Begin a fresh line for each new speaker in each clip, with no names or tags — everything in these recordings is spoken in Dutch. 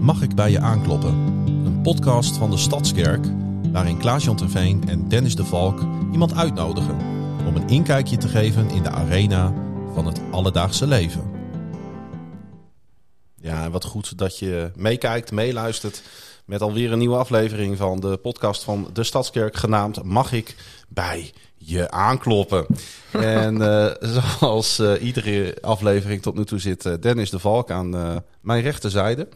Mag ik bij je aankloppen? Een podcast van de Stadskerk, waarin Klaas-Jan Terveen en Dennis de Valk iemand uitnodigen om een inkijkje te geven in de arena van het alledaagse leven. Ja, en wat goed dat je meekijkt, meeluistert met alweer een nieuwe aflevering van de podcast van de Stadskerk, genaamd Mag ik bij je aankloppen? en eh, zoals eh, iedere aflevering tot nu toe zit eh, Dennis de Valk aan eh, mijn rechterzijde.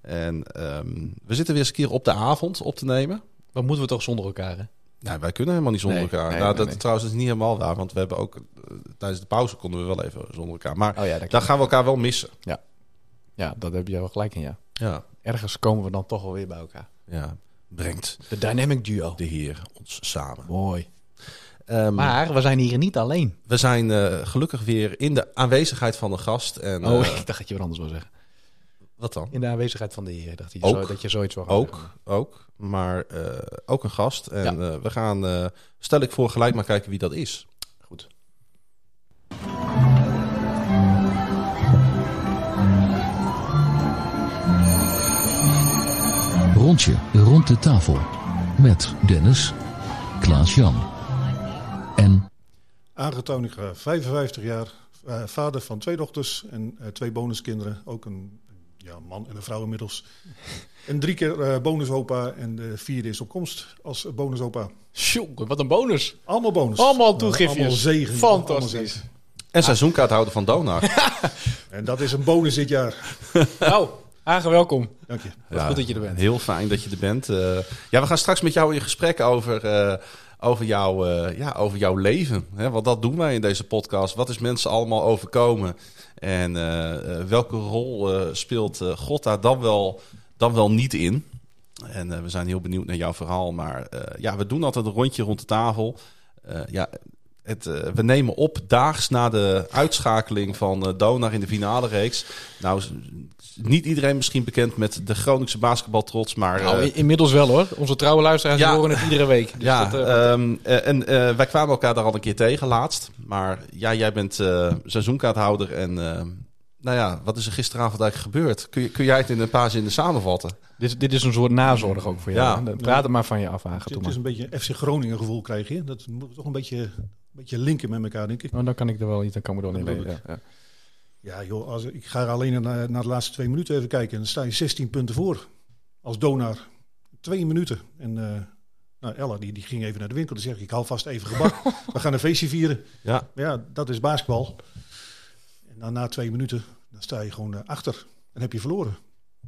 En ehm, we zitten weer eens een keer op de avond op te nemen.
Wat moeten we toch zonder elkaar, hè?
Nou, wij kunnen helemaal niet zonder
Nee,
elkaar.
nee,
nou,
nee,
dat
nee.
trouwens is niet helemaal waar, want we hebben ook eh, tijdens de pauze konden we wel even zonder elkaar. Maar
Oh ja, dat
daar gaan we elkaar wel missen.
Ja, dat heb je wel gelijk in, ja.
Ja,
Ergens komen we dan toch wel weer bij elkaar.
ja. Brengt
De dynamic duo.
de Heer ons samen.
Mooi.
Ehm,
Maar we zijn hier niet alleen.
we zijn eh, gelukkig weer in de aanwezigheid van een gast. En,
Oh,
eh,
ik dacht dat je wat anders wil zeggen.
wat dan?
In de aanwezigheid van de heer. Dacht je
Ook.
zo, dat je zoiets wil gaan
Ook,
zeggen.
ook. Maar eh, ook een gast. En eh, we gaan, eh, stel ik voor, gelijk maar kijken wie dat is.
Goed.
Rondje rond de tafel. Met Dennis, Klaas-Jan en
Aangetoonige 55 eh, jaar, eh, vader van twee dochters en eh, twee bonuskinderen. Ook een ja, man en een vrouw inmiddels. En drie keer eh, bonusopa en de vierde is op komst als bonusopa.
Tjonge, wat een bonus.
Allemaal bonus. Nou,
Allemaal toegifjes.
Allemaal zegen.
Fantastisch.
Allemaal zegen.
En seizoenkaarthouder van Donar.
En dat is een bonus dit jaar.
Nou, Hagen, welkom.
Dank je.
Wat goed dat je er bent.
Heel fijn dat je er bent. Eh, ja, we gaan straks met jou in gesprek over, eh, over, jouw, eh, ja, over jouw leven. Hè? Want dat doen wij in deze podcast. Wat is mensen allemaal overkomen? En eh, eh, welke rol eh, speelt eh, God daar dan wel, dan wel niet in? En eh, we zijn heel benieuwd naar jouw verhaal. Maar eh, ja, we doen altijd een rondje rond de tafel. Eh, ja, het, eh, we nemen op daags na de uitschakeling van eh Donar in de finale reeks. Nou, is- is niet iedereen misschien bekend met de Groningse basketbaltrots, maar...
Nou,
eh,
in- inmiddels wel hoor. Onze trouwe luisteraars die
Ja.
horen het iedere week. Dus
ja,
dat, eh,
ehm, eh, en eh, wij kwamen elkaar daar al een keer tegen laatst. Maar ja, jij bent eh, seizoenkaarthouder en... eh, nou ja, wat is er gisteravond eigenlijk gebeurd? Kun, je, kun jij het in een paar zinnen samenvatten?
dit, dit is een soort nazorg ook voor jou.
Ja.
hè? Dan Praat het maar van je af, Hagen.
Het,
Doe
is een
maar.
beetje een FC Groningen gevoel krijg je. Dat moeten we toch een beetje, een beetje linken met elkaar, denk ik.
Nou, dan kan ik er wel iets aan komen door.
Dat bedoel
Ja, ja.
Ja joh, als, ik ga alleen naar, naar de laatste twee minuten even kijken. En dan sta je 16 punten voor als donar. Twee minuten. En eh, nou, Ella die, die ging even naar de winkel. Die zegt, ik haal vast even gebak. We gaan een feestje vieren.
Ja.
Maar ja, dat is basketbal. En dan na twee minuten, dan sta je gewoon eh, achter. En heb je verloren.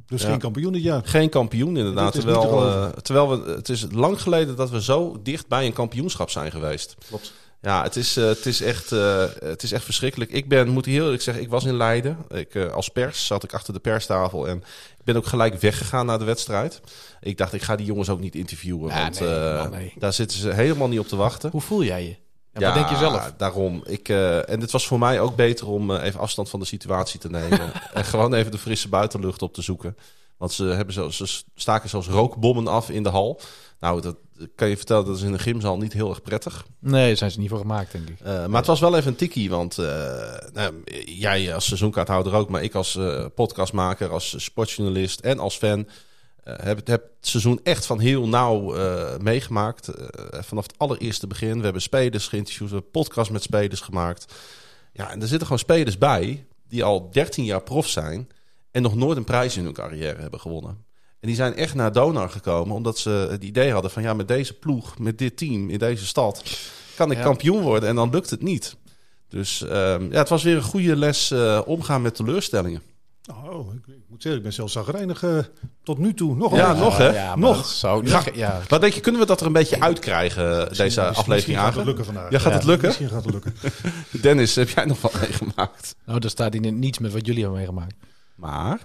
Dus
Ja.
geen kampioen dit jaar.
Geen kampioen inderdaad.
Dat is niet
Terwijl,
te
eh, terwijl we, het is lang geleden dat we zo dicht bij een kampioenschap zijn geweest.
Klopt.
Ja, het is, eh, het is, echt, eh, het is echt verschrikkelijk. Ik ben, moet heel eerlijk zeggen, ik was in Leiden. Ik, eh, als pers zat ik achter de perstafel en ik ben ook gelijk weggegaan naar de wedstrijd. Ik dacht, ik ga die jongens ook niet interviewen,
Ja,
want
nee,
eh,
man, nee.
daar zitten ze helemaal niet op te wachten.
Hoe voel jij je? En wat denk je zelf?
Daarom. Ik, eh, en het was voor mij ook beter om eh, even afstand van de situatie te nemen. en gewoon even de frisse buitenlucht op te zoeken. Want ze, hebben zo, ze staken zelfs rookbommen af in de hal. Nou, dat kan je vertellen, dat is in de gymzaal niet heel erg prettig.
Nee, daar zijn ze niet voor gemaakt, denk ik.
Eh, maar het was wel even een tikkie, want eh, nou, jij als seizoenkaarthouder ook, maar ik als eh, podcastmaker, als sportjournalist en als fan eh, heb, het- heb het seizoen echt van heel nauw eh, meegemaakt. Eh, vanaf het allereerste begin. We hebben spelers geïnterviewd, we hebben podcast met spelers gemaakt. Ja, en er zitten gewoon spelers bij die al 13 jaar prof zijn en nog nooit een prijs in hun carrière hebben gewonnen. En die zijn echt naar Donar gekomen omdat ze het idee hadden van ja, met deze ploeg, met dit team in deze stad kan ik
Ja.
kampioen worden en dan lukt het niet. Dus ehm, ja, het was weer een goede les eh, omgaan met teleurstellingen.
Oh, ik, ik moet zeggen, ik ben zelfs zagrijnig eh, tot nu dat Nog
Ja,
een-
nog hè?
Ja, maar dat
nog.
Zou niet,
Ja.
ja.
Wat denk je, kunnen we dat er een beetje uitkrijgen, deze
Misschien-
aflevering
dus Misschien gaat het
aan?
lukken vandaag.
Ja, gaat het lukken?
Misschien gaat het lukken.
Dennis, heb jij nog wat meegemaakt?
Nou, daar staat in niets met wat jullie hebben meegemaakt.
Maar,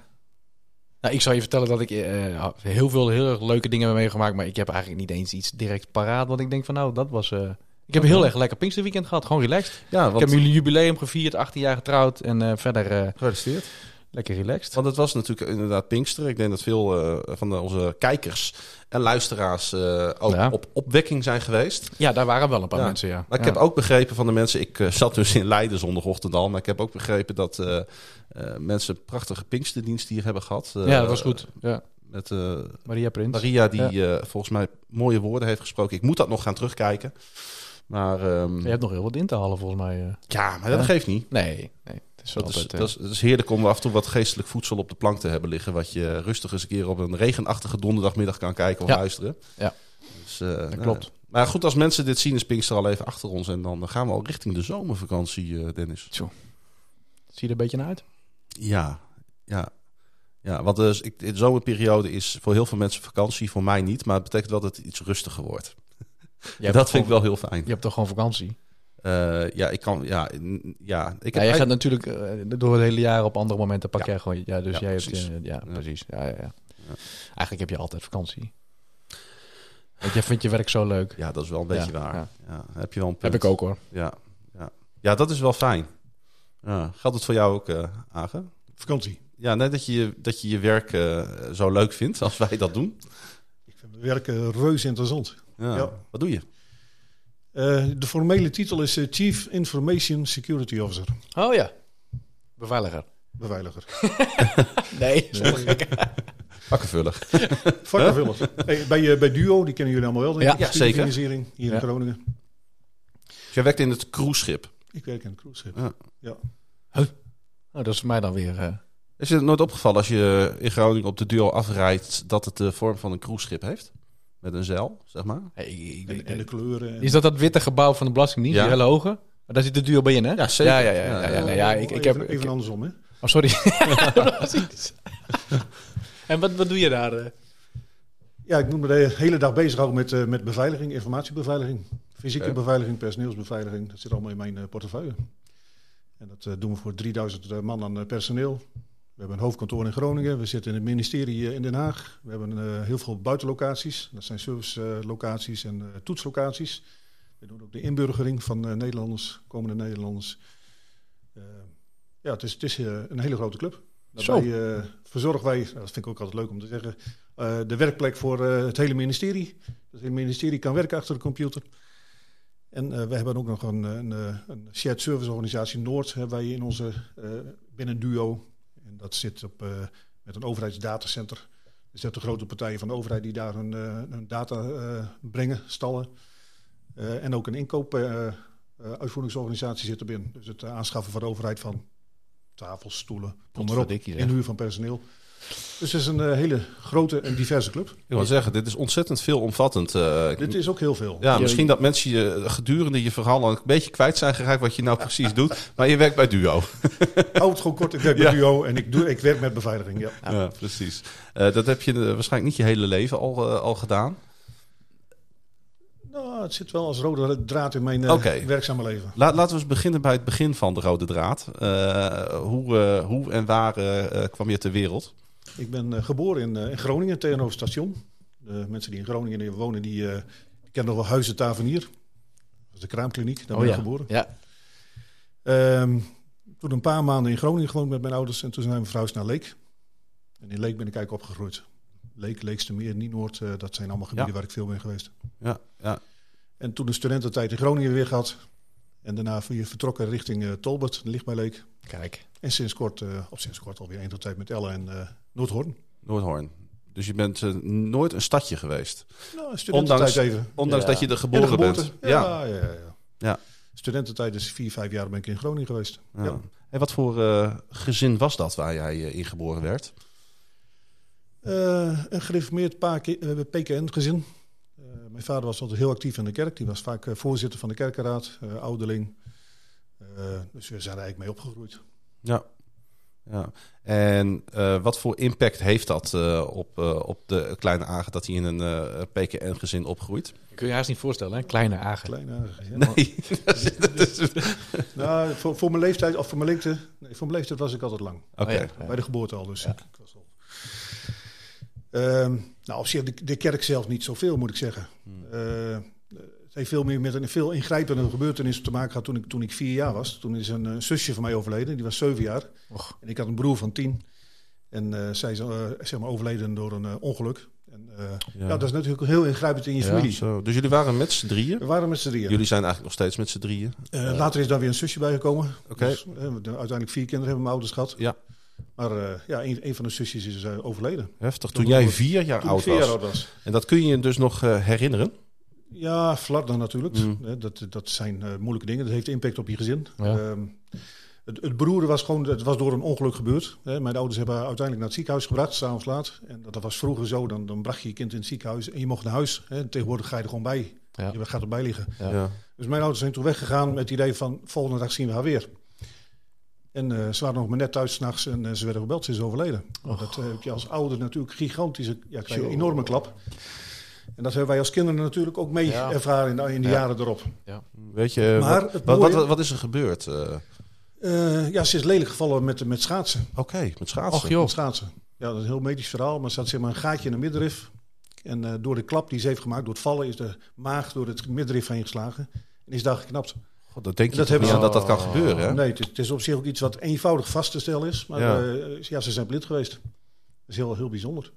Nou, ik zal je vertellen dat ik eh, heel veel heel erg leuke dingen heb meegemaakt, maar ik heb eigenlijk niet eens iets direct paraat. Want ik denk van nou, dat was. eh, ik heb een heel erg lekker Pinksterweekend gehad, gewoon relaxed.
ja,
Ik heb jullie jubileum gevierd, 18 jaar getrouwd en eh, verder. eh,
gefeliciteerd.
Lekker relaxed.
Want het was natuurlijk inderdaad Pinkster. Ik denk dat veel eh, van onze kijkers en luisteraars eh, ook
Ja.
op opwekking zijn geweest.
Ja, daar waren wel een paar
Ja.
mensen, ja.
Maar ik
Ja.
heb ook begrepen van de mensen... Ik eh, zat dus in Leiden zondagochtend al. Maar ik heb ook begrepen dat eh, eh, mensen een prachtige Pinksterdienst hier hebben gehad. Eh,
ja, dat was goed. Ja.
Met eh,
Maria Prins.
Maria die eh, volgens mij mooie woorden heeft gesproken. Ik moet dat nog gaan terugkijken. Maar ehm,
Je hebt nog heel wat in te halen, volgens mij. eh.
ja, maar dat
Ja.
geeft niet.
Nee, nee. Het is
Dat is,
altijd, eh,
dat, is, dat is heerlijk om af en toe wat geestelijk voedsel op de plank te hebben liggen. Wat je rustig eens een keer op een regenachtige donderdagmiddag kan kijken of
Ja.
luisteren.
Ja.
Dus, eh, nou
klopt.
ja. Maar goed, als mensen dit zien is Pinkster al even achter ons. En dan gaan we al richting de zomervakantie, eh, Dennis.
Zie je er een beetje naar uit?
Ja, ja. Ja, want dus, ik, de zomerperiode is voor heel veel mensen vakantie. Voor mij niet, maar het betekent wel dat het iets rustiger wordt.
Je
dat vind ik wel heel fijn.
Je hebt toch gewoon vakantie?
Eh, ja, ik kan... Ja, n- ja, ik
Ja,
heb
je gaat natuurlijk eh, door het hele jaar op andere momenten pak
Ja.
jij gewoon... Ja, dus
Ja,
jij hebt...
precies.
eh, ja,
Ja.
precies. Ja, ja, ja. Eigenlijk heb je altijd vakantie. Want jij vindt je werk zo leuk.
ja, dat is wel een beetje
Ja,
waar. Ja.
ja.
heb je wel een punt.
Heb ik ook hoor.
Ja, ja. ja dat is wel fijn. Ja, geldt het voor jou ook, eh Age?
Vakantie.
Ja, net dat je je- dat je, je werk eh, zo leuk vindt als wij dat doen.
Ik vind mijn werk eh, reuze interessant.
Ja.
Ja.
Wat doe je?
Eh, de formele titel is eh, Chief Information Security Officer.
Oh ja. Beveiliger.
Beveiliger.
Nee.
Vakkenvullig.
Vakkenvuller. Hey, bij, eh, bij Duo, die kennen jullie allemaal wel. denk
Ja,
ik,
ja,
studiefinanciering hier in
Ja.
Groningen.
Dus jij werkt in het cruiseschip.
Ik werk in het cruiseschip.
Nou, dat is mij dan weer... eh,
Is je het nooit opgevallen als je in Groningen op de duo afrijdt... dat het de vorm van een cruiseschip heeft? Met een zeil, zeg maar.
hey, ik- ik-
En, en de kleuren. en-
Is dat dat witte gebouw van de Belastingdienst?
Ja.
Die hele hoge? Maar daar zit de duur bij in, hè?
Ja, zeker.
Ja, ja, ja. ja, ja, ja, ja, ik, ik heb...
Oh, even,
ik-
even andersom, hè?
oh, sorry. Precies. en wat, wat doe je daar? eh?
Ja, ik moet me de hele dag bezighouden met, eh, met beveiliging, informatiebeveiliging. Fysieke
Oké.
beveiliging, personeelsbeveiliging. Dat zit allemaal in mijn eh, portefeuille. En dat eh, doen we voor 3000 man aan eh, personeel. We hebben een hoofdkantoor in Groningen. We zitten in het ministerie eh, in Den Haag. We hebben eh, heel veel buitenlocaties. Dat zijn servicelocaties en eh, toetslocaties. We doen ook de inburgering van eh, Nederlanders, komende Nederlanders. Eh, ja, het is, het is eh, een hele grote club. Daarbij eh, verzorgen wij, nou, dat vind ik ook altijd leuk om te zeggen, eh, de werkplek voor eh, het hele ministerie. Het hele ministerie kan werken achter de computer. En eh, we hebben ook nog een, eh, een, eh, een shared service organisatie Noord hebben wij in onze, eh, binnen Duo. En dat zit op, eh, met een overheidsdatacenter. Dus dat de grote partijen van de overheid die daar hun, eh, hun data eh, brengen, stallen. Eh, en ook een inkoop eh, eh, uitvoeringsorganisatie zit erin. Dus het eh, aanschaffen van de overheid van tafels, stoelen, kom maar op,
Potverdikkie, zeg.
inhuur van personeel. Dus het is een eh, hele grote en diverse club.
Ik wil zeggen, dit is ontzettend veelomvattend. eh,
Dit is ook heel veel.
Ja, misschien dat mensen je gedurende je verhaal al een beetje kwijt zijn geraakt wat je nou precies doet. Maar je werkt bij Duo.
Houd het gewoon kort, ik werk bij
Ja.
Duo en ik, doe, ik werk met beveiliging. Ja.
Ja, precies. Eh, dat heb je eh, waarschijnlijk niet je hele leven al, eh, al gedaan.
Nou, het zit wel als rode draad in mijn eh,
Oké.
werkzame leven.
La- laten we eens beginnen bij het begin van de rode draad. Eh, hoe, eh, hoe en waar eh, eh, kwam je ter wereld?
Ik ben eh, geboren in, eh, in Groningen, tegenover het station. De mensen die in Groningen wonen, die eh, kennen nog wel Huizen Tavenier. Dat is de kraamkliniek,
Oh
daar ben ik
Oh, ja.
geboren.
Ja.
Ehm, toen een paar maanden in Groningen gewoond met mijn ouders. En toen zijn mijn vrouw naar Leek. En in Leek ben ik eigenlijk opgegroeid. Leek, Leekstermeer, Nienoord, eh dat zijn allemaal gebieden
Ja.
waar ik veel ben geweest.
Ja, ja.
En toen de studententijd in Groningen weer gehad. En daarna weer vertrokken richting eh, Tolbert, dat ligt bij Leek.
Kijk.
En sinds kort, eh of sinds kort alweer een tot tijd met Ella en eh, Noordhoorn.
Noordhoorn. Dus je bent eh, nooit een stadje geweest.
Nou, studententijd
Ondanks-
even.
Ondanks
Ja.
dat je er
En de
geboren
geboorte.
bent. Ja.
Ja, ja, ja. ja.
Ja.
Studententijd is vier, vijf jaar ben ik in Groningen geweest.
Ja.
Ja.
En wat voor eh, gezin was dat waar jij eh, in geboren werd?
Eh, een gereformeerd pa- ki- eh, PKN-gezin. Eh, mijn vader was altijd heel actief in de kerk. Die was vaak eh, voorzitter van de kerkenraad, eh, ouderling. Eh, dus we zijn er eigenlijk mee opgegroeid.
Ja. ja. En eh, wat voor impact heeft dat eh, op, eh, op de kleine Agen dat hij in een eh, PKN-gezin opgroeit?
Kun je haast niet voorstellen, hè? Kleine agen.
Klein aardig, ja. Oh,
Nee, dat is... Oké.
Nou, voor, voor mijn leeftijd, of voor mijn leeftijd, nee, voor mijn leeftijd was ik altijd lang.
Oh, ja.
Bij de geboorte al dus. Ik was al- Ehm, nou, op zich, de, de kerk zelf niet zoveel, moet ik zeggen. Eh, het heeft veel meer met een veel ingrijpende gebeurtenis te maken gehad toen ik, toen ik vier jaar was. Toen is een eh, zusje van mij overleden, die was zeven jaar.
Och.
En ik had een broer van tien. En eh, zij is eh, zeg maar overleden door een eh, ongeluk. En, eh, ja. dat is natuurlijk heel ingrijpend in je
Ja.
familie.
Zo, dus jullie waren met z'n drieën?
We waren met z'n drieën.
Jullie zijn eigenlijk nog steeds met z'n drieën.
Eh, later is daar weer een zusje bijgekomen.
Oké.
Dus, eh, we- uiteindelijk vier kinderen hebben mijn ouders gehad.
Ja.
Maar eh, ja, een, een van de zusjes is eh, overleden.
Heftig.
Toen
Toen jij
ik-
vier jaar
Toen ik
oud
vier jaar
was.
oud was.
En dat kun je je dus nog eh, herinneren.
Ja, flarden natuurlijk.
Mm.
Eh, Dat, dat zijn eh, moeilijke dingen. Dat heeft impact op je gezin.
Hmm. Ja.
Ehm, het, het beroeren was gewoon, het was door een ongeluk gebeurd. Hè, Mijn ouders hebben haar uiteindelijk naar het ziekenhuis gebracht, s'avonds laat. En dat, dat was vroeger zo, dan, dan bracht je je kind in het ziekenhuis en je mocht naar huis. Hè. Tegenwoordig ga je er gewoon bij.
Ja.
Je gaat erbij liggen.
Ja.
Ja.
Dus mijn ouders zijn toen weggegaan met het idee van volgende dag zien we haar weer. En eh, ze waren nog maar net thuis s'nachts en eh, ze werden gebeld, ze is overleden.
Och.
Dat eh, heb je als ouder natuurlijk gigantische, ja, krijg je
Tjoh.
een enorme klap. En dat hebben wij als kinderen natuurlijk ook mee
Ja.
ervaren in de, in de
Ja.
jaren erop.
Weet je, eh,
Maar
wat,
het
wat,
mooie-
wat, wat is er gebeurd? Eh,
Eh, ja, ze is lelijk gevallen met, met schaatsen.
Oké, met schaatsen.
Och joh.
Met schaatsen. Ja, dat is een heel medisch verhaal, maar ze had zeg maar een gaatje in de middenrif. En eh, door de klap die ze heeft gemaakt, door het vallen, is de maag door het middenrif heen geslagen. En is daar geknapt.
God, dat denk je
Dat
toch
hebben
niet
ze- Oh,
aan dat dat kan gebeuren, hè?
Nee, het is, het is op zich ook iets wat eenvoudig vast te stellen is. Maar
Ja.
ja, ja ze zijn blind geweest. Dat is heel, heel bijzonder.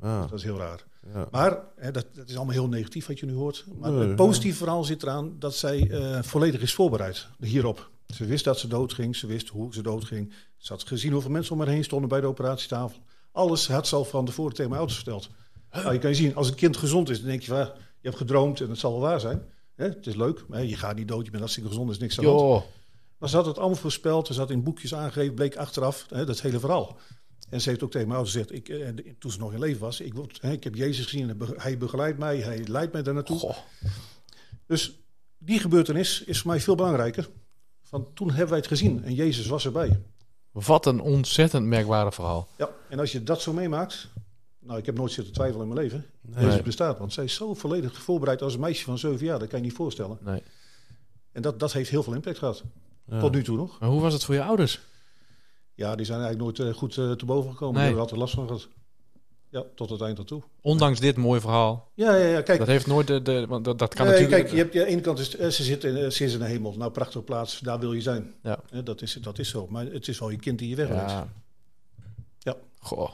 Ja,
Dat is heel raar.
ja.
Maar hè, dat, dat is allemaal heel negatief wat je nu hoort. Maar
Nee,
het positieve verhaal zit eraan dat zij eh, volledig is voorbereid hierop. Ze wist dat ze doodging. Ze wist hoe ze doodging. Ze had gezien hoeveel mensen om haar heen stonden bij de operatietafel. Alles had ze al van tevoren tegen mijn ouders verteld. Nou, je kan je zien, als een kind gezond is, dan denk je van... ah, Je hebt gedroomd en het zal wel waar zijn. Hè, het is leuk, maar je gaat niet dood. Je bent hartstikke gezond, er is niks aan de hand.
Joh.
Maar ze had het allemaal voorspeld. Ze had in boekjes aangegeven, bleek achteraf hè, dat hele verhaal. En ze heeft ook tegen mijn ouders gezegd, ik, eh, de- toen ze nog in leven was... Ik, word, hè, ik heb Jezus gezien, en be- hij begeleidt mij, hij leidt mij daar naartoe.
Goh.
Dus die gebeurtenis is voor mij veel belangrijker. Want toen hebben wij het gezien en Jezus was erbij.
Wat een ontzettend merkwaardig verhaal.
Ja, en als je dat zo meemaakt... Nou, ik heb nooit zitten twijfelen in mijn leven.
Nee.
Jezus bestaat, want zij is zo volledig voorbereid als een meisje van zeven jaar. Dat kan je niet voorstellen.
Nee.
En dat, dat heeft heel veel impact gehad.
Ja.
Tot nu toe nog.
Maar hoe was het voor je ouders?
Ja, die zijn eigenlijk nooit eh, goed eh, te boven gekomen.
Nee.
Die hebben er altijd last van gehad. Ja, tot het eind aan toe.
Ondanks dit mooie verhaal.
Ja, ja, ja kijk.
Dat heeft nooit de... de want dat, dat kan
eh,
natuurlijk...
Kijk, je hebt, ja, aan de ene kant is, eh, ze, zit in, eh, ze is in de hemel. Nou, prachtige plaats, daar wil je zijn.
Ja.
Eh, dat, is, dat is zo. Maar het is wel je kind die je wegleidt.
Ja.
Ja.
Goh.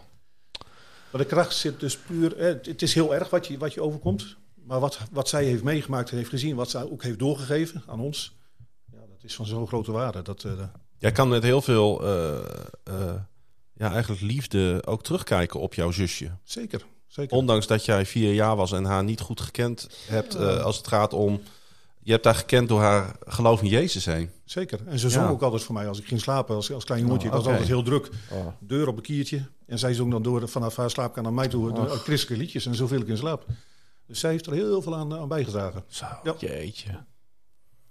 Maar de kracht zit dus puur... eh, het, het is heel erg wat je, wat je overkomt. Maar wat, wat zij heeft meegemaakt en heeft gezien... wat zij ook heeft doorgegeven aan ons... Ja, dat is van zo'n grote waarde. Dat, eh,
Jij kan met heel veel eh, eh, ja, eigenlijk liefde ook terugkijken op jouw zusje.
zeker, zeker.
Ondanks dat jij vier jaar was en haar niet goed gekend hebt eh, als het gaat om... Je hebt haar gekend door haar geloof in Jezus heen.
Zeker. En ze zong
Ja.
ook altijd voor mij als ik ging slapen, als, als klein jongetje.
Oh,
ik was
oké.
altijd heel druk.
Oh.
Deur op een kiertje. En zij zong dan door vanaf haar slaapkamer naar mij toe de christelijke liedjes. En zo viel ik in slaap. Dus zij heeft er heel veel aan, aan bijgedragen.
Zo,
Ja.
jeetje.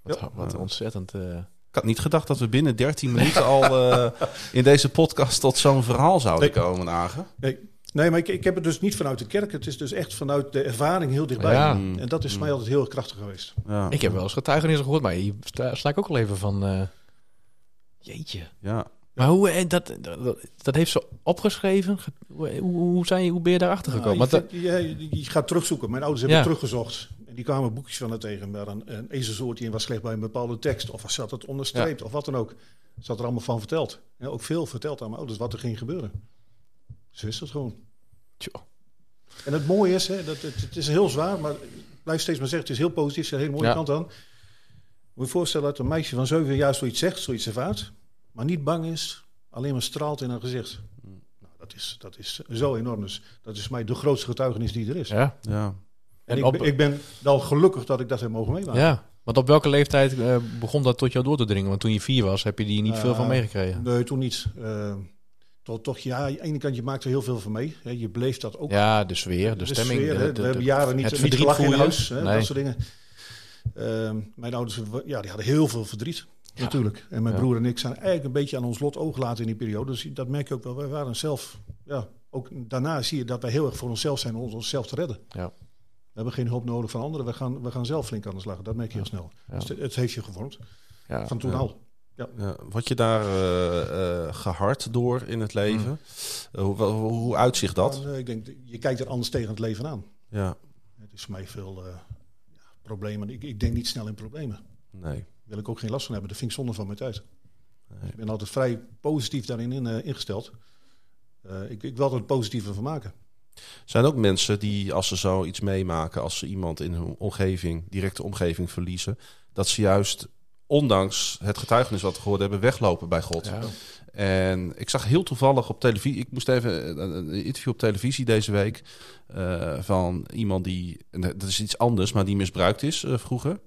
Wat, wat
Ja.
ontzettend... eh,
Ik had niet gedacht dat we binnen 13 minuten al eh, in deze podcast tot zo'n verhaal zouden
Nee.
komen, Nagen.
Nee, nee maar ik, ik heb het dus niet vanuit de kerk. Het is dus echt vanuit de ervaring heel dichtbij.
Ja.
En dat is voor mij altijd heel krachtig geweest.
Ja,
Ik heb wel eens getuigenissen gehoord, maar hier sta, sta ik ook al even van... eh, jeetje.
ja.
Maar hoe, eh, dat, dat, dat heeft ze opgeschreven? Ge- Hoe, hoe, hoe zijn, je- hoe ben je daarachter
Nou,
gekomen?
je,
Want, eh,
vindt- je, je gaat terugzoeken. Mijn ouders hebben
Ja.
teruggezocht. En die kwamen boekjes van haar tegen. Waar een, een ezelsoortje in was slecht bij een bepaalde tekst. Of zat het onderstreept. Of wat dan ook. Ze had er allemaal van verteld. Ja, ook veel verteld aan mijn ouders wat er ging gebeuren. Ze wist het gewoon.
tjoh.
En het mooie is, hè, dat, het, het is heel zwaar, maar ik blijf steeds maar zeggen, het is heel positief, er zit een hele mooie
Ja.
kant aan. Moet je je voorstellen dat een meisje van zeven jaar zoiets zegt, zoiets ervaart, maar niet bang is, alleen maar straalt in haar gezicht. Nou, dat, is, dat is zo enorm. Dus dat is voor mij de grootste getuigenis die er is.
eh, ja.
ja.
en
en
ik,
op-
ben- ik ben wel gelukkig dat ik dat heb mogen meemaken.
ja, want op welke leeftijd eh, begon dat tot jou door te dringen? Want toen je vier was, heb je die niet veel van
Eh,
meegekregen.
Nee, toen niet. Eh, toch, toch, ja, aan de ene kant, je maakt er heel veel van mee. Hè, je beleeft dat ook
Ja, de sfeer, de,
De
stemming.
sfeer,
de-
hè.
de-
we hebben
de-
jaren
het
niet, niet
verdriet
gelachen in
voel je.
huis, hè,
Nee.
dat soort dingen. Ehm, mijn ouders wa- ja, die hadden heel veel verdriet,
Ja.
natuurlijk. En mijn
Ja.
broer en ik zijn eigenlijk een beetje aan ons lot overgelaten in die periode. Dus dat merk je ook wel. Wij waren zelf, ja, ook daarna zie je dat wij heel erg voor onszelf zijn om ons- onszelf te redden.
Ja.
We hebben geen hulp nodig van anderen. We gaan, we gaan zelf flink aan de slag. Dat merk je heel snel.
Ja.
Dus het, het heeft je gevormd,
Ja.
van toen
ja.
al.
Ja, word je daar eh, eh, gehard door in het leven? Eh, hoe, wel- hoe, hoe uitzicht dat?
Maar, eh, ik denk, je kijkt er anders tegen het leven aan.
Ja.
Het is voor mij veel eh, ja, problemen. Ik, ik denk niet snel in problemen.
Nee.
Daar wil ik ook geen last van hebben. Dat vind ik zonde van mijn tijd.
Nee.
Ik ben altijd vrij positief daarin in, eh, ingesteld. Eh, ik, ik wil er het positieve van maken.
Zijn ook mensen die, als ze zoiets meemaken, als ze iemand in hun omgeving, directe omgeving verliezen, dat ze juist, ondanks het getuigenis wat we gehoord hebben, weglopen bij God.
Ja.
En ik zag heel toevallig op televisie, ik moest even een- een een interview op televisie deze week eh, van iemand die, en dat is iets anders, maar die misbruikt is eh, vroeger.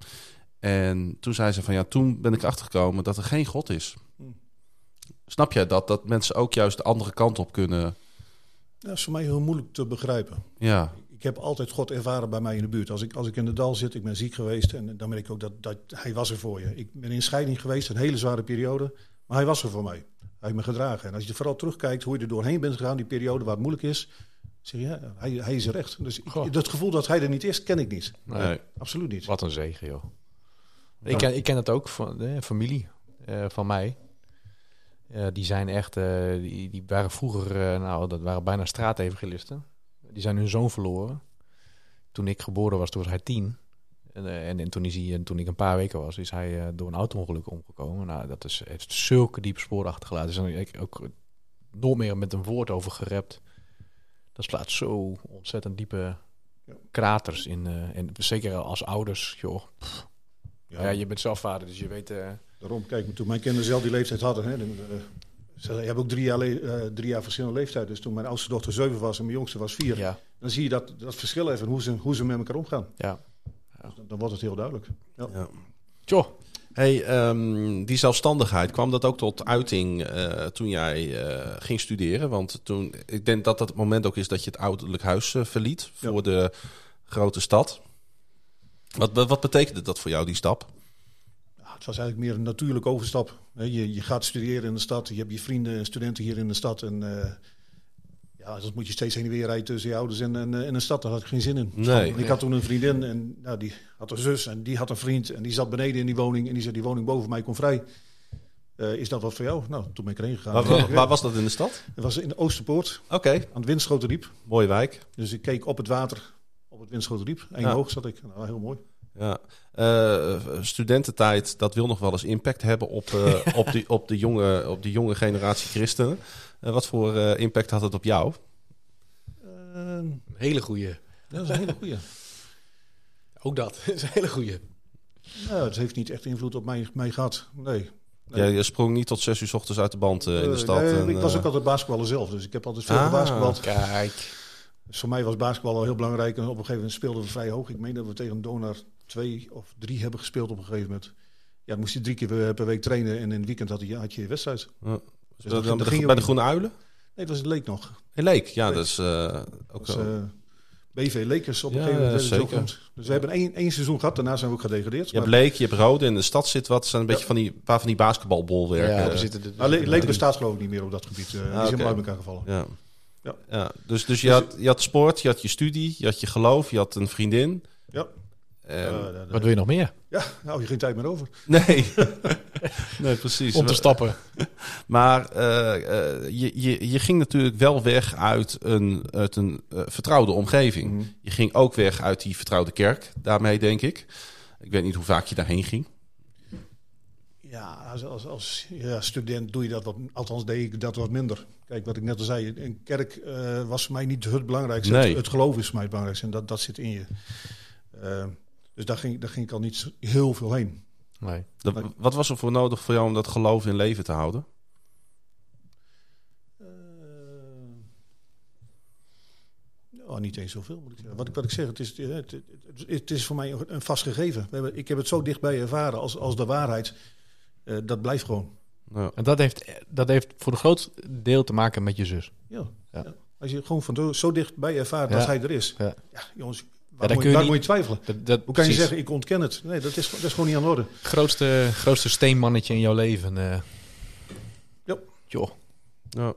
En toen zei ze van ja, toen ben ik achtergekomen dat er geen God is.
Hm.
Snap jij dat? Dat mensen ook juist de andere kant op kunnen.
Dat is voor mij heel moeilijk te begrijpen.
Ja,
Ik heb altijd God ervaren bij mij in de buurt. Als ik, als ik in de dal zit, ik ben ziek geweest. En dan merk ik ook dat, dat hij was er voor je. Ik ben in scheiding geweest, een hele zware periode. Maar hij was er voor mij. Hij heeft me gedragen. En als je vooral terugkijkt hoe je er doorheen bent gegaan, die periode waar het moeilijk is. Zeg je, ja, hij, hij is er echt. Dus ik-
Goh.
dat gevoel dat hij er niet is, ken ik niet.
nee.
Absoluut niet.
Wat een zegen, joh. Ik ken, ik ken het ook van de familie eh, van mij. Eh, die zijn echt, eh, die, die waren vroeger, eh, nou, dat waren bijna straatevangelisten. Die zijn hun zoon verloren. Toen ik geboren was, toen was hij tien. En, eh, en, en toen, is hij, en toen ik een paar weken was, is hij eh, door een auto-ongeluk omgekomen. Nou, dat is, heeft zulke diepe sporen achtergelaten. Dus dan heb ik ook nooit meer met een woord over gerept. Dat slaat zo ontzettend diepe
Ja.
kraters in. eh, en zeker als ouders, joh.
Ja,
Ja, je bent zelf vader, dus je weet... eh,
Daarom, kijk, toen mijn kinderen zelf die leeftijd hadden. Hè, dan, eh, ze hebben ook drie jaar, le- eh, drie jaar verschillende leeftijd. Dus toen mijn oudste dochter zeven was en mijn jongste was vier.
ja,
Dan zie je dat, dat verschil even, hoe ze, hoe ze met elkaar omgaan. Dus
ja.
Dan, dan wordt het heel duidelijk.
Tjoh,
Hey, ehm, die zelfstandigheid, kwam dat ook tot uiting eh, toen jij eh, ging studeren? Want toen, ik denk dat dat het moment ook is dat je het ouderlijk huis eh, verliet voor de grote stad. Wat, wat, wat betekende dat voor jou, die stap?
Ja, Nou, het was eigenlijk meer een natuurlijke overstap. Hè, Je, je gaat studeren in de stad, je hebt je vrienden en studenten hier in de stad. En eh, ja, dan moet je steeds heen en weer rijden tussen je ouders en, en, eh, en een stad. Daar had ik geen zin in.
Nee.
Want ik had toen een vriendin en nou, die had een zus en die had een vriend. En die zat beneden in die woning en die zei, die woning boven mij komt vrij. Eh, is dat wat voor jou? Nou, toen ben ik erheen gegaan.
Waar, waar- waar was dat in de stad?
Het was in de Oosterpoort,
Oké,
aan het Winschoterdiep.
mooie wijk.
Dus ik keek op het water, op het Winschoterdiep. Eén
Ja.
hoog zat ik. Nou, heel mooi.
Ja. Eh, studententijd, dat wil nog wel eens impact hebben op, eh, op, die, op, de, jonge, op die jonge generatie christenen. Eh, wat voor eh, impact had het op jou?
Eh,
een hele goeie.
dat is een hele goeie.
Ook dat, is een hele goeie.
Nou, het heeft niet echt invloed op mij, mij gehad. Nee. Nee.
Jij, jij sprong niet tot zes uur 's ochtends uit de band eh, in de
Eh,
stad.
nee,
en,
ik was
eh,
ook altijd basketballer zelf, dus ik heb altijd veel
Ah.
gebasketbald.
Kijk.
Dus voor mij was basketbal al heel belangrijk. En op een gegeven moment speelden we vrij hoog. Ik meen dat we tegen Donar twee of drie hebben gespeeld op een gegeven moment. Ja, dan moest hij drie keer per- per week trainen en in het weekend had hij, had je wedstrijd.
Dus
dat
dan bij, de,
ging ook
bij de
niet.
Groene Uilen?
Nee, dat was in Leek nog.
In Leek, ja,
Leek.
dat is eh, ook
Dat was,
wel-
eh, BV Lekers op een
Ja, ja,
gegeven moment. werd het
zeker.
heel goed. Dus we hebben één, één seizoen gehad, daarna zijn we ook gedegradeerd.
je hebt
Maar,
Leek, je hebt Rode, in de stad zit wat. Er zijn een
Ja.
beetje van die, een paar van die basketbalbolwerken.
Ja,
Ja,
we zitten er-
maar Nou, Le- Leek bestaat geloof ik niet meer op dat gebied. Eh, die zijn
oké.
maar uit elkaar gevallen.
Ja.
Ja.
Dus, dus je, had, je had sport, je had je studie, je had je geloof, je had een vriendin.
Ja.
En-
Eh, dat-
Wat wil je nog meer?
ja, daar hou je geen tijd meer over.
nee. nee, precies.
Om te stappen.
Maar eh, eh, je, je, je ging natuurlijk wel weg uit een, uit een eh, vertrouwde omgeving.
Mhm.
Je ging ook weg uit die vertrouwde kerk, daarmee denk ik. Ik weet niet hoe vaak je daarheen ging.
Ja, als, als, als ja, student doe je dat wat, althans deed ik dat wat minder. Kijk, wat ik net al zei, een kerk eh, was voor mij niet het belangrijkste.
Nee.
Het, het geloof is voor mij het belangrijkste en dat, dat zit in je. Eh, dus daar ging, daar ging ik al niet zo heel veel heen.
Nee.
Dat-
Nee.
wat was er voor nodig voor jou om dat geloof in leven te houden?
Eh, nou, niet eens zoveel, moet ik zeggen. Wat ik, wat ik zeg, het is, eh, het, het, het is voor mij een vast gegeven. We hebben, ik heb het zo dichtbij ervaren als, als de waarheid. Eh, dat blijft gewoon.
Nou,
En dat heeft, dat heeft voor een groot deel te maken met je zus.
Ja.
Ja.
ja. Als je het gewoon van zo- zo dichtbij ervaart
Ja.
dat hij er is.
Ja.
Ja, jongens,
dan
waar, moet,
kun je
waar
niet-
moet je twijfelen?
Dat, dat,
Hoe kan je
precies.
zeggen, ik ontken het? Nee, dat is, dat is gewoon niet aan de orde.
Grootste, grootste steenmannetje in jouw leven. eh.
Ja.
Joh.
ja.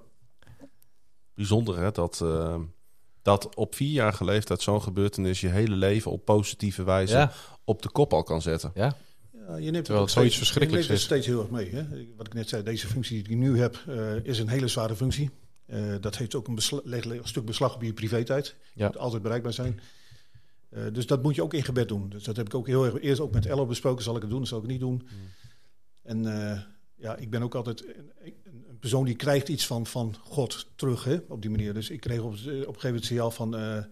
Bijzonder hè, dat, eh, dat op vierjarige leeftijd zo'n gebeurtenis je hele leven op positieve wijze
Ja.
op de kop al kan zetten.
ja.
Ja, je neemt
Terwijl
ook
het zoiets
steeds-
verschrikkelijks
je neemt het steeds heel erg mee. Hè? Wat ik net zei, deze functie die ik nu heb, eh, is een hele zware functie. Eh, dat heeft ook een, besla- legt- legt een stuk beslag op je privé-tijd. Je
Ja.
moet altijd bereikbaar zijn. Eh, dus dat moet je ook in gebed doen. Dus dat heb ik ook heel erg eerst ook met Ella besproken. Zal ik het doen, zal ik het niet doen?
Mm.
En eh, ja, ik ben ook altijd een, een- een persoon die krijgt iets van, van God terug hè, op die manier. Dus ik kreeg op, op een gegeven moment het signaal van... eh, eh,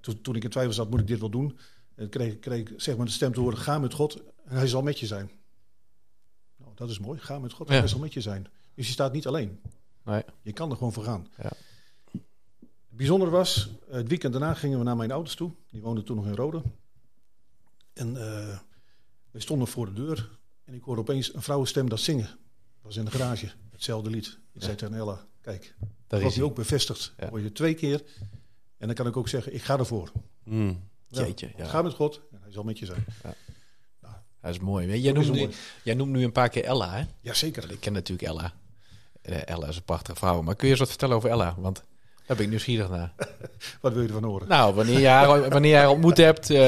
toen, toen ik in twijfel zat, moet ik dit wel doen? En kreeg, kreeg ik, zeg maar de stem te horen, ga met God en hij zal met je zijn. Nou, dat is mooi. Ga met God en
Ja.
hij zal met je zijn. Dus je staat niet alleen.
Nee.
Je kan er gewoon voor gaan.
Ja.
Bijzonder was, eh, het weekend daarna gingen we naar mijn ouders toe. Die woonden toen nog in Rode. En eh, we stonden voor de deur. En ik hoorde opeens een vrouwenstem dat zingen. Dat was in de garage. Hetzelfde lied. Ik
Ja.
zei tegen Ella, kijk,
Daar
dat
is
je
hij.
ook bevestigd.
Ja.
Word je twee keer. En dan kan ik ook zeggen, ik ga ervoor.
Mm.
Ja.
Jeetje, ja.
Ga met God en hij zal met je zijn.
Dat is mooi. Weet je, Jij
Dat is
noemt, nu,
mooi.
jij noemt nu een paar keer Ella, hè?
Jazeker.
Ik ken natuurlijk Ella. Eh, Ella is een prachtige vrouw. Maar kun je eens wat vertellen over Ella? Want daar ben ik nieuwsgierig naar.
Wat wil je ervan horen?
Nou, wanneer je haar, wanneer je haar ontmoet hebt... eh,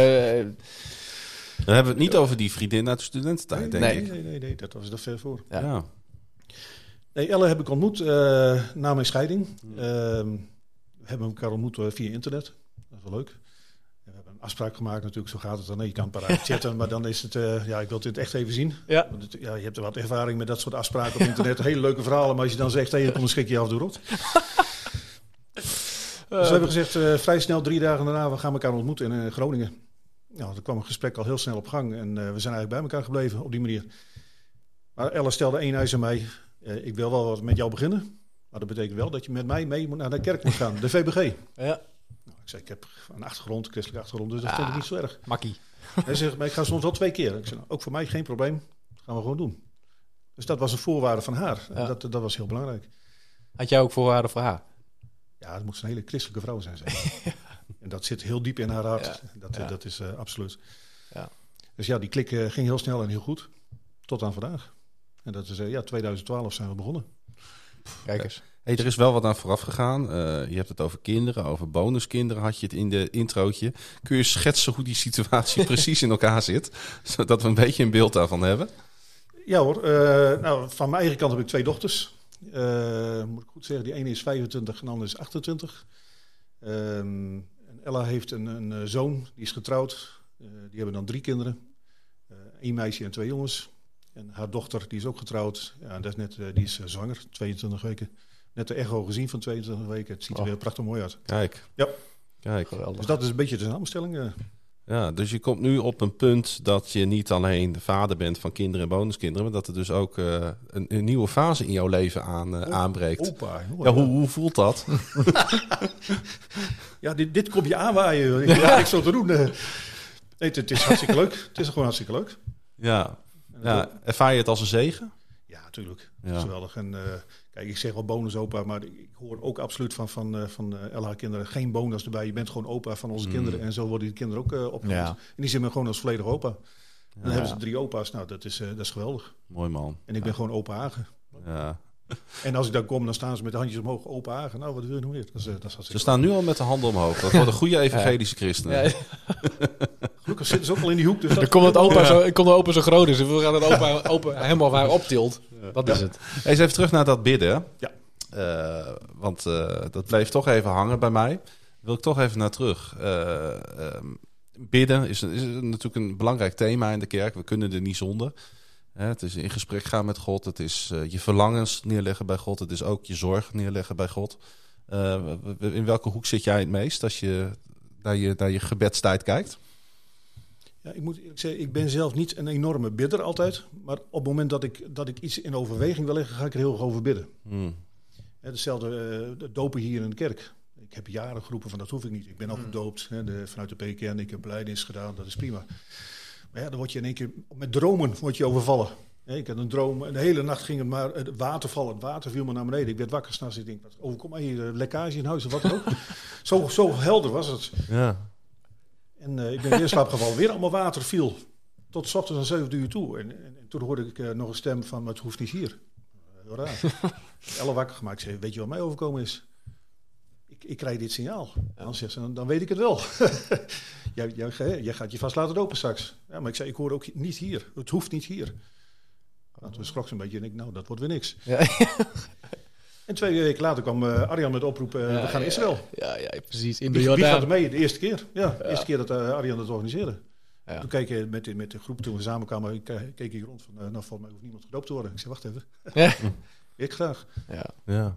Dan hebben we het niet over die vriendin uit de studententijd, denk
nee,
ik.
nee, nee, nee, dat was er ver voor.
Ja.
Ja.
Nee, Elle heb ik ontmoet eh, na mijn scheiding.
Hmm.
Ehm, we hebben elkaar ontmoet eh, via internet. Dat is wel leuk. En We hebben een afspraak gemaakt natuurlijk, zo gaat het dan. hè. Je kan een paar uit chatten, maar dan is het... eh, ja, ik wil dit echt even zien.
Ja.
Want het- ja, je hebt er wat ervaring met dat soort afspraken op internet. Hele leuke verhalen, maar als je dan zegt... Hé, hey, kom een schikje af de rot. Dus we hebben gezegd, eh, vrij snel, drie dagen daarna, we gaan elkaar ontmoeten in eh, Groningen. Nou, er kwam een gesprek al heel snel op gang en eh, we zijn eigenlijk bij elkaar gebleven op die manier. Maar Ella stelde één eis aan mij. eh, ik wil wel wat met jou beginnen, maar dat betekent wel dat je met mij mee moet naar de kerk moet gaan, de VBG. Nou,
ja.
ik zei, ik heb een achtergrond, christelijke achtergrond, dus dat
Ah.
vind ik niet zo erg.
Makkie.
Hij zegt, maar ik ga soms wel twee keer. Ik zei, nou, ook voor mij geen probleem, dat gaan we gewoon doen. Dus dat was een voorwaarde van haar. En
Ja.
Dat, dat was heel belangrijk.
Had jij ook voorwaarden voor haar?
Ja, het moet een hele christelijke vrouw zijn. Zeg. en dat zit heel diep in haar hart. Dat,
ja.
dat is eh, absoluut.
Ja.
Dus ja, die klik eh, ging heel snel en heel goed. Tot aan vandaag. En dat is, eh, ja, 2012 zijn we begonnen.
Kijk eens.
Hey, er is wel wat aan vooraf gegaan. Eh, je hebt het over kinderen, over bonuskinderen had je het in de introotje. Kun je schetsen hoe die situatie precies in elkaar zit? Zodat we een beetje een beeld daarvan hebben.
Ja hoor, eh, nou, van mijn eigen kant heb ik twee dochters. Eh, moet ik goed zeggen, die ene is 25 en de andere is 28. Ehm, en Ella heeft een, een eh, zoon, die is getrouwd. Eh, die hebben dan drie kinderen. Eén meisje en twee jongens. En haar dochter, die is ook getrouwd. Ja, en dat is net, eh, die is eh, zwanger, 22 weken. Net de echo gezien van 22 weken. Het ziet er
Oh.
weer prachtig mooi uit.
Kijk.
Ja.
Kijk.
Geweldig.
Dus dat is een beetje de samenstelling. eh.
Ja, dus je komt nu op een punt dat je niet alleen de vader bent van kinderen en bonuskinderen, maar dat er dus ook eh, een, een nieuwe fase in jouw leven aan, eh, aanbreekt.
Opa, hoor.
Ja, hoe, hoe voelt dat?
Ja, dit, dit kom je aanwaaien. joh. Ik heb niks zo te doen. eh. Nee, het, het is hartstikke leuk. Het is gewoon hartstikke leuk.
Ja. ja. Ervaar je het als een zegen?
Ja, natuurlijk.
Ja.
Dat is geweldig. En eh, kijk, ik zeg wel bonus opa, maar ik ik hoor ook absoluut van, van, eh, van eh, LH kinderen geen bonus erbij. Je bent gewoon opa van onze
Mm.
kinderen. En zo worden die kinderen ook eh opgevoed.
Ja.
En die zijn maar gewoon als volledig opa. En dan
Ja.
hebben ze drie opa's. Nou, dat is, eh, dat is geweldig.
Mooi man.
En ik ben gewoon opa Hagen.
Ja.
En als ik dan kom, dan staan ze met de handjes omhoog. Opa Hagen, nou, wat wil je nog meer? Dat is, eh, dat is
Ze
hartstikke
staan nu al met de handen omhoog. Dat worden goede evangelische christenen.
Ja,
leuk. Gelukkig zitten ze ook al in die hoek. Dus
dan
dat
komt dat opa, zo, ik kon de opa zo groot is. Dus we gaan het opa, opa helemaal waar optilt. Dat is het.
Eens even terug naar dat bidden.
Ja.
Eh, want eh, dat bleef toch even hangen bij mij. Wil ik toch even naar terug. Eh, ehm, bidden is, is natuurlijk een belangrijk thema in de kerk. We kunnen er niet zonder. Hè, het is in gesprek gaan met God. Het is eh, je verlangens neerleggen bij God. Het is ook je zorg neerleggen bij God. Eh, w- w- in welke hoek zit jij het meest als je naar je, naar je gebedstijd kijkt?
Ja, ik moet eerlijk zeggen, ik ben zelf niet een enorme bidder altijd. Maar op het moment dat ik, dat ik iets in overweging wil leggen, ga ik er heel erg over bidden.
Hmm.
Hè, hetzelfde eh, de dopen hier in de kerk. Ik heb jaren geroepen van dat hoef ik niet. Ik ben al gedoopt hè, de, vanuit de PKN. Ik heb beleidnis gedaan, dat is prima. Maar ja, dan word je in één keer met dromen word je overvallen. Hè, ik had een droom, en de hele nacht ging het maar het waterval. Het water viel me naar beneden. Ik werd wakker s'nachts. Ik denk, wat overkomt mij hier? eh, Lekkage in huis of wat dan ook. zo, zo helder was het.
Ja.
En eh, ik ben weer in slaap gevallen. Weer allemaal water viel. Tot 's ochtends aan 7 uur toe. En, en, en toen hoorde ik eh, nog een stem van, het hoeft niet hier. Eh, Heel raar. Elle wakker gemaakt. Ik zei, weet je wat mij overkomen is? Ik, ik krijg dit signaal. En dan zegt ze, dan, dan weet ik het wel. jij, jij, hè, jij gaat je vast laten lopen straks. Ja, maar ik zei, ik hoor ook niet hier. Het hoeft niet hier. Nou, toen schrok ze een beetje en ik, nou, dat wordt weer niks.
Ja.
En twee weken later kwam eh, Arjan met de oproep, eh, we gaan naar Israël.
Ja, ja, precies. In de
Wie, wie gaat er
Jordaan.
mee? De eerste keer. Ja, de eerste keer dat eh, Arjan dat organiseerde.
Ja.
Toen keek ik met, de- met de groep, toen we samenkwamen, ik, eh, keek ik rond van, eh, nou, volgens mij hoeft niemand gedoopt te worden. Ik zei, wacht even,
Ja.
ik graag.
Ja.
Ja.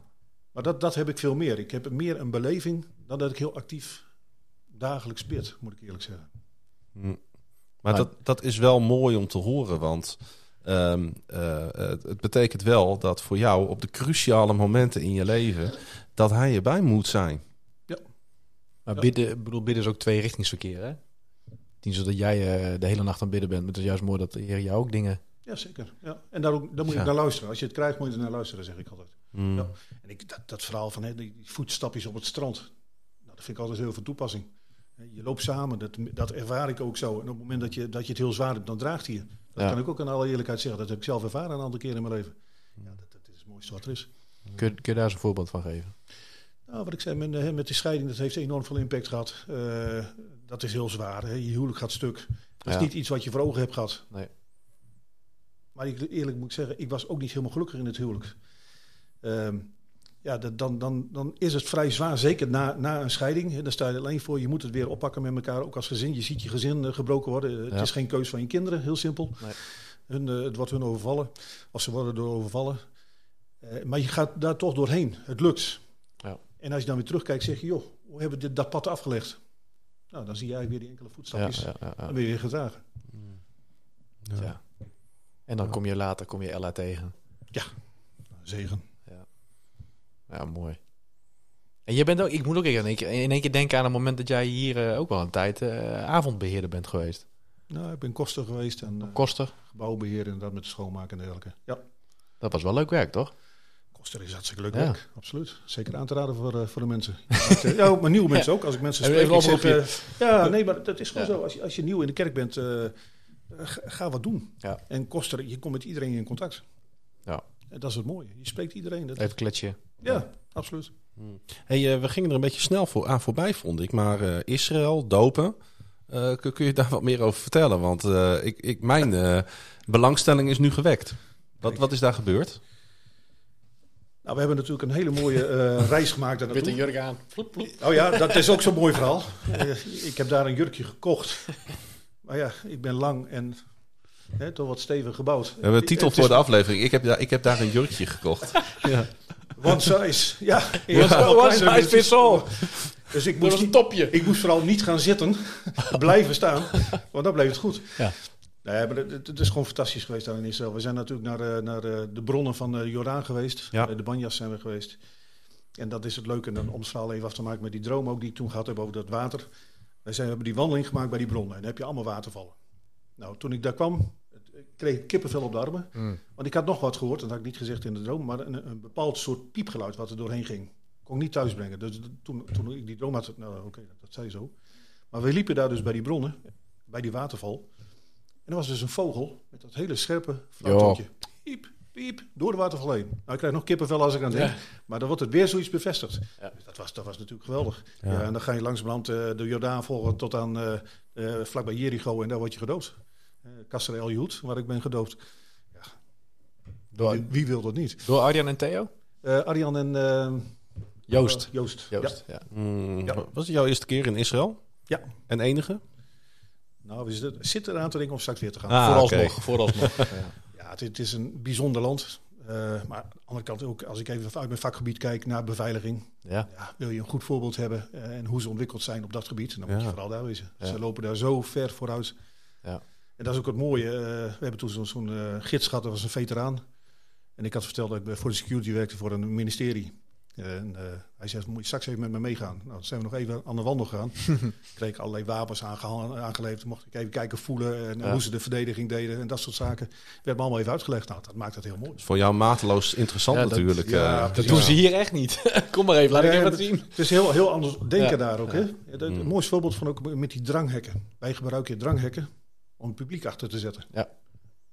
Maar dat, dat heb ik veel meer. Ik heb meer een beleving dan dat ik heel actief dagelijks bid, moet ik eerlijk zeggen.
Hm. Maar dat, dat is wel mooi om te horen, want ehm, eh, het, het betekent wel dat voor jou op de cruciale momenten in je leven dat hij erbij moet zijn.
Maar bidden, ik bedoel, bidden is ook twee richtingsverkeer, hè? Het is niet zo dat jij eh, de hele nacht aan het bidden bent, maar het is juist mooi dat de Heer jou ook dingen...
Ja, zeker. Ja. En daar, ook- daar moet je
Ja.
naar luisteren. Als je het krijgt, moet je er naar luisteren, zeg ik altijd.
Hm.
Ja. En ik, dat, dat verhaal van hè, die die voetstapjes op het strand, nou, dat vind ik altijd heel veel toepassing. Hè, Je loopt samen, dat, dat ervaar ik ook zo. En op het moment dat je, dat je het heel zwaar hebt, dan draagt hij je. Dat
Ja.
kan ik ook in alle eerlijkheid zeggen. Dat heb ik zelf ervaren een aantal keren in mijn leven. Ja, dat, dat is het mooiste wat er is.
Kun, je- kun je daar eens een voorbeeld van geven?
Nou, wat ik zei, met, eh, met die scheiding, dat heeft enorm veel impact gehad. Eh, dat is heel zwaar. Hè? Je huwelijk gaat stuk. Dat is
Ja.
niet iets wat je voor ogen hebt gehad.
Nee.
Maar ik, eerlijk moet ik zeggen, ik was ook niet helemaal gelukkig in het huwelijk. Ehm, ja, dat, dan, dan, dan is het vrij zwaar, zeker na, na een scheiding. hè, Dan sta je er alleen voor, je moet het weer oppakken met elkaar, ook als gezin. Je ziet je gezin eh, gebroken worden. Eh, Het
Ja.
is geen keus van je kinderen, heel simpel.
Nee.
Hun, eh, het wordt hun overvallen, of ze worden door overvallen. Eh, maar je gaat daar toch doorheen, het lukt.
Ja.
En als je dan weer terugkijkt, zeg je, joh, hoe hebben we dit, dat pad afgelegd? Nou, dan zie je eigenlijk weer die enkele voetstapjes.
ja, ja, ja.
Dan ben je weer gedragen.
Ja.
Ja. En dan kom je later kom je Ella tegen.
Zegen.
Ja, mooi. En je bent ook, ik moet ook in één keer, in één keer denken aan het moment dat jij hier eh, ook wel een tijd eh, avondbeheerder bent geweest.
Nou, ik ben koster geweest en eh,
Koster,
gebouwbeheer en dat met schoonmaken en dergelijke. Ja,
dat was wel leuk werk, toch?
koster is hartstikke leuk
Ja.
werk. Absoluut. Zeker aan te raden voor, eh, voor de mensen. Maar, eh, ja, maar nieuwe mensen ook. Als ik mensen spreek,
Even een
ik zeg,
oproepje.
eh, ja, nee, maar dat is gewoon
Ja.
zo. Als je, als je nieuw in de kerk bent, eh, ga, ga wat doen.
Ja.
En koster, je komt met iedereen in contact.
Ja.
En dat is het mooie. Je spreekt iedereen. Dat,
Even kletsen.
ja, absoluut.
Hey, eh, we gingen er een beetje snel voor, aan voorbij, vond ik. Maar eh, Israël, dopen, eh, kun, kun je daar wat meer over vertellen? Want eh, ik, ik, mijn eh, belangstelling is nu gewekt. Wat, wat is daar gebeurd?
Nou, we hebben natuurlijk een hele mooie eh, reis gemaakt. daar naartoe.
jurk aan.
Oh ja, dat is ook zo'n mooi verhaal. Eh, ik heb daar een jurkje gekocht. Maar ja, ik ben lang en hè, toch wat stevig gebouwd.
We hebben de titel
Het is
voor de aflevering. Ik heb, daar- ik heb daar een jurkje gekocht. ja.
One size. Ja, ik
One
was wel
size
kleiner, dus-
fits all.
Dus ik
Dat
moest,
was een
niet,
topje.
ik moest vooral niet gaan zitten, blijven staan, want dan bleef het goed.
Ja.
Nee, maar het, het is gewoon fantastisch geweest daar in Israël. We zijn natuurlijk naar, eh, naar eh, de bronnen van de Jordaan geweest.
Ja.
Bij de Banjas zijn we geweest. En dat is het leuke. En dan om het verhaal even af te maken met die droom ook die ik toen gehad heb over dat water. Wij zijn, we hebben die wandeling gemaakt bij die bronnen. En dan heb je allemaal watervallen. Nou, toen ik daar kwam, het- ik kreeg ik kippenvel op de armen. Want ik had nog wat gehoord, dat had ik niet gezegd in de droom, maar een, een bepaald soort piepgeluid wat er doorheen ging. Kon ik niet thuisbrengen. Dus d- toen, toen ik die droom had, nou oké, dat, dat zei zo. Maar we liepen daar dus bij die bronnen, bij die waterval. En er was dus een vogel met dat hele scherpe fluitoontje. Piep, piep, door de waterval heen. Nou, ik krijg nog kippenvel als ik aan denk. Maar dan wordt het weer zoiets bevestigd.
Ja.
Dus dat, was, dat was natuurlijk geweldig.
Ja.
Ja. en dan ga je langzamerhand eh de Jordaan volgen tot aan eh eh, vlakbij Jericho en daar word je gedoopt. Eh Kasser El Joet, waar ik ben gedoopt.
Door,
Wie- Wie wil dat niet?
door Arjan en Theo?
Eh, Arjan en eh,
Joost.
eh, Joost. Ja.
Joost, ja.
Mm,
Ja.
Was het jouw eerste keer in Israël?
Ja.
En enige?
Nou, we zitten- zit er aan te denken om straks weer te gaan.
Ah,
vooralsnog.
oké.
vooralsnog. ja.
Ja, het, het is een bijzonder land. Eh, maar aan de andere kant ook, als ik even uit mijn vakgebied kijk naar beveiliging.
Ja.
Ja, wil je een goed voorbeeld hebben eh, en hoe ze ontwikkeld zijn op dat gebied, dan moet je
Ja.
vooral daar wezen.
Ja.
Ze lopen daar zo ver vooruit.
Ja.
En dat is ook het mooie. eh, we hebben toen zo'n zo'n, eh, gids gehad, dat was een veteraan. En ik had verteld dat ik bij- voor de security werkte voor een ministerie. En eh, hij zei, moet je straks even met me meegaan? Nou, toen zijn we nog even aan de wandel gegaan. kreeg ik allerlei wapens aangeha- aangeleverd. Mocht ik even kijken, voelen eh, en
Ja.
hoe ze de verdediging deden en dat soort zaken. Werd me allemaal even uitgelegd. Nou, dat maakt het heel mooi.
Is voor jou mateloos interessant
Ja, dat-
natuurlijk.
ja,
eh.
Dat
precies.
doen ze hier echt niet. Kom maar even, laat ik
Nee,
even
maar
wat zien.
Het is heel, heel anders denken
Ja,
daar ook. Hè? Ja, dat-
Mm.
Een mooi voorbeeld van ook met die dranghekken. Wij gebruiken dranghekken om het publiek achter te zetten.
Ja.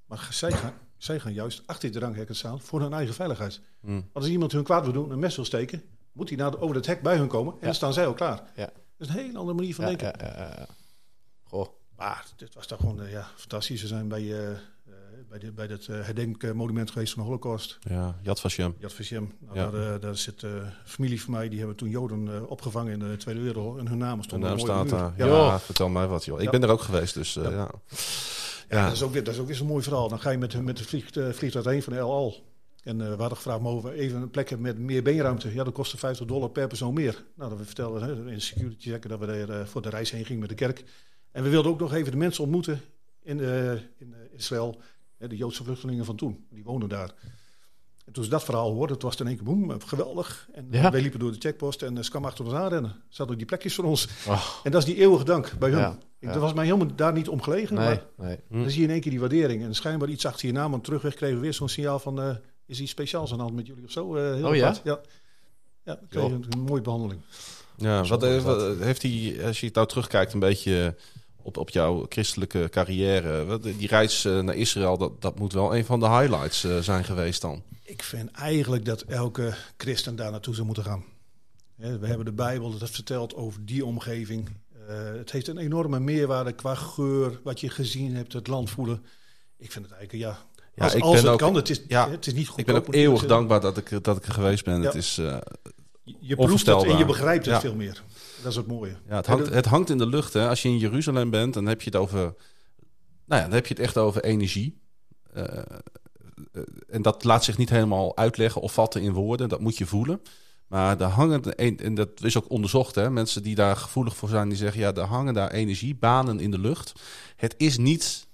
Maar ge- zij gaan, zij gaan juist achter die dranghekken staan voor hun eigen veiligheid.
Mm.
Want als iemand hun kwaad wil doen, een mes wil steken, moet hij naar de- over het hek bij hun komen en
Ja.
dan staan zij al klaar.
Ja.
Dat is een hele andere manier van
Ja,
denken.
ja, ja, ja. Goh.
Maar dit was toch gewoon eh, ja, fantastisch. We zijn bij, eh, eh, bij, dit, bij dat eh, herdenkmonument geweest van de Holocaust.
Ja, Yad Vashem.
Yad Vashem. Nou,
Ja.
daar, eh, daar zit eh, familie van mij, die hebben toen Joden eh, opgevangen in de Tweede Wereldoorlog. En hun namen
De
stonden
naam
mooi op
staat
de muur.
daar. Ja,
Joh.
vertel mij wat, joh. Ik
Ja.
ben er ook geweest, dus eh, ja.
Ja,
Ja,
Dat, is ook weer, dat is ook weer zo'n mooi verhaal. Dan ga je met, met het vlieg, eh, vliegtuig heen van El Al. En eh we hadden gevraagd, mogen we even een plek hebben met meer beenruimte? Ja, dat kostte 50 dollar per persoon meer. Nou, dat we vertelden hè, in security checken dat we daar, eh, voor de reis heen gingen met de kerk. En we wilden ook nog even de mensen ontmoeten in, eh, in eh, Israël. Hè, de Joodse vluchtelingen van toen, die woonden daar. En toen ze dat verhaal hoorden, het was het in één keer boem, eh, geweldig. En eh,
Ja.
wij liepen door de checkpost en eh, ze kwam achter ons aanrennen. Ze hadden ook die plekjes voor ons.
Oh.
En dat is die eeuwige dank bij hun.
Ja,
Ik,
ja.
Dat was mij helemaal daar niet om gelegen.
Nee,
Maar
nee.
Hm.
dan zie je in één keer die waardering. En schijnbaar iets achter je naam, want terugweg kregen we weer zo'n signaal van... eh, is iets speciaals aan de hand met jullie of zo? Eh, heel
Oh ja?
apart. Ja, ja dan kreeg je een, een mooie behandeling.
ja.
Zo
Wat,
is
eh, wat heeft hij, als je het nou terugkijkt, een beetje eh, op, op jouw christelijke carrière. Wat, die reis eh, naar Israël, dat, dat moet wel een van de highlights eh, zijn geweest dan.
Ik vind eigenlijk dat elke christen daar naartoe zou moeten gaan. Hè, We hebben de Bijbel, dat vertelt over die omgeving. Eh, het heeft een enorme meerwaarde qua geur, wat je gezien hebt, het land voelen. Ik vind het eigenlijk, ja...
Ja,
als
ik
als
ben
het
ook-
kan, het is,
ja,
het is niet goed.
Ik ben ook eeuwig dankbaar dat ik, dat ik er geweest ben.
Ja.
Het, is, eh,
Je proeft het en
onvoorstelbaar.
je begrijpt het
Ja.
veel meer. Dat is het mooie.
ja, het, hangt, het hangt in de lucht. Hè. Als je in Jeruzalem bent, dan heb je het over. Nou ja, dan heb je het echt over energie. Eh, eh, en dat laat zich niet helemaal uitleggen of vatten in woorden. Dat moet je voelen. Maar daar hangen, en en dat is ook onderzocht, hè? mensen die daar gevoelig voor zijn, die zeggen, ja, daar hangen daar energiebanen in de lucht. Het is niet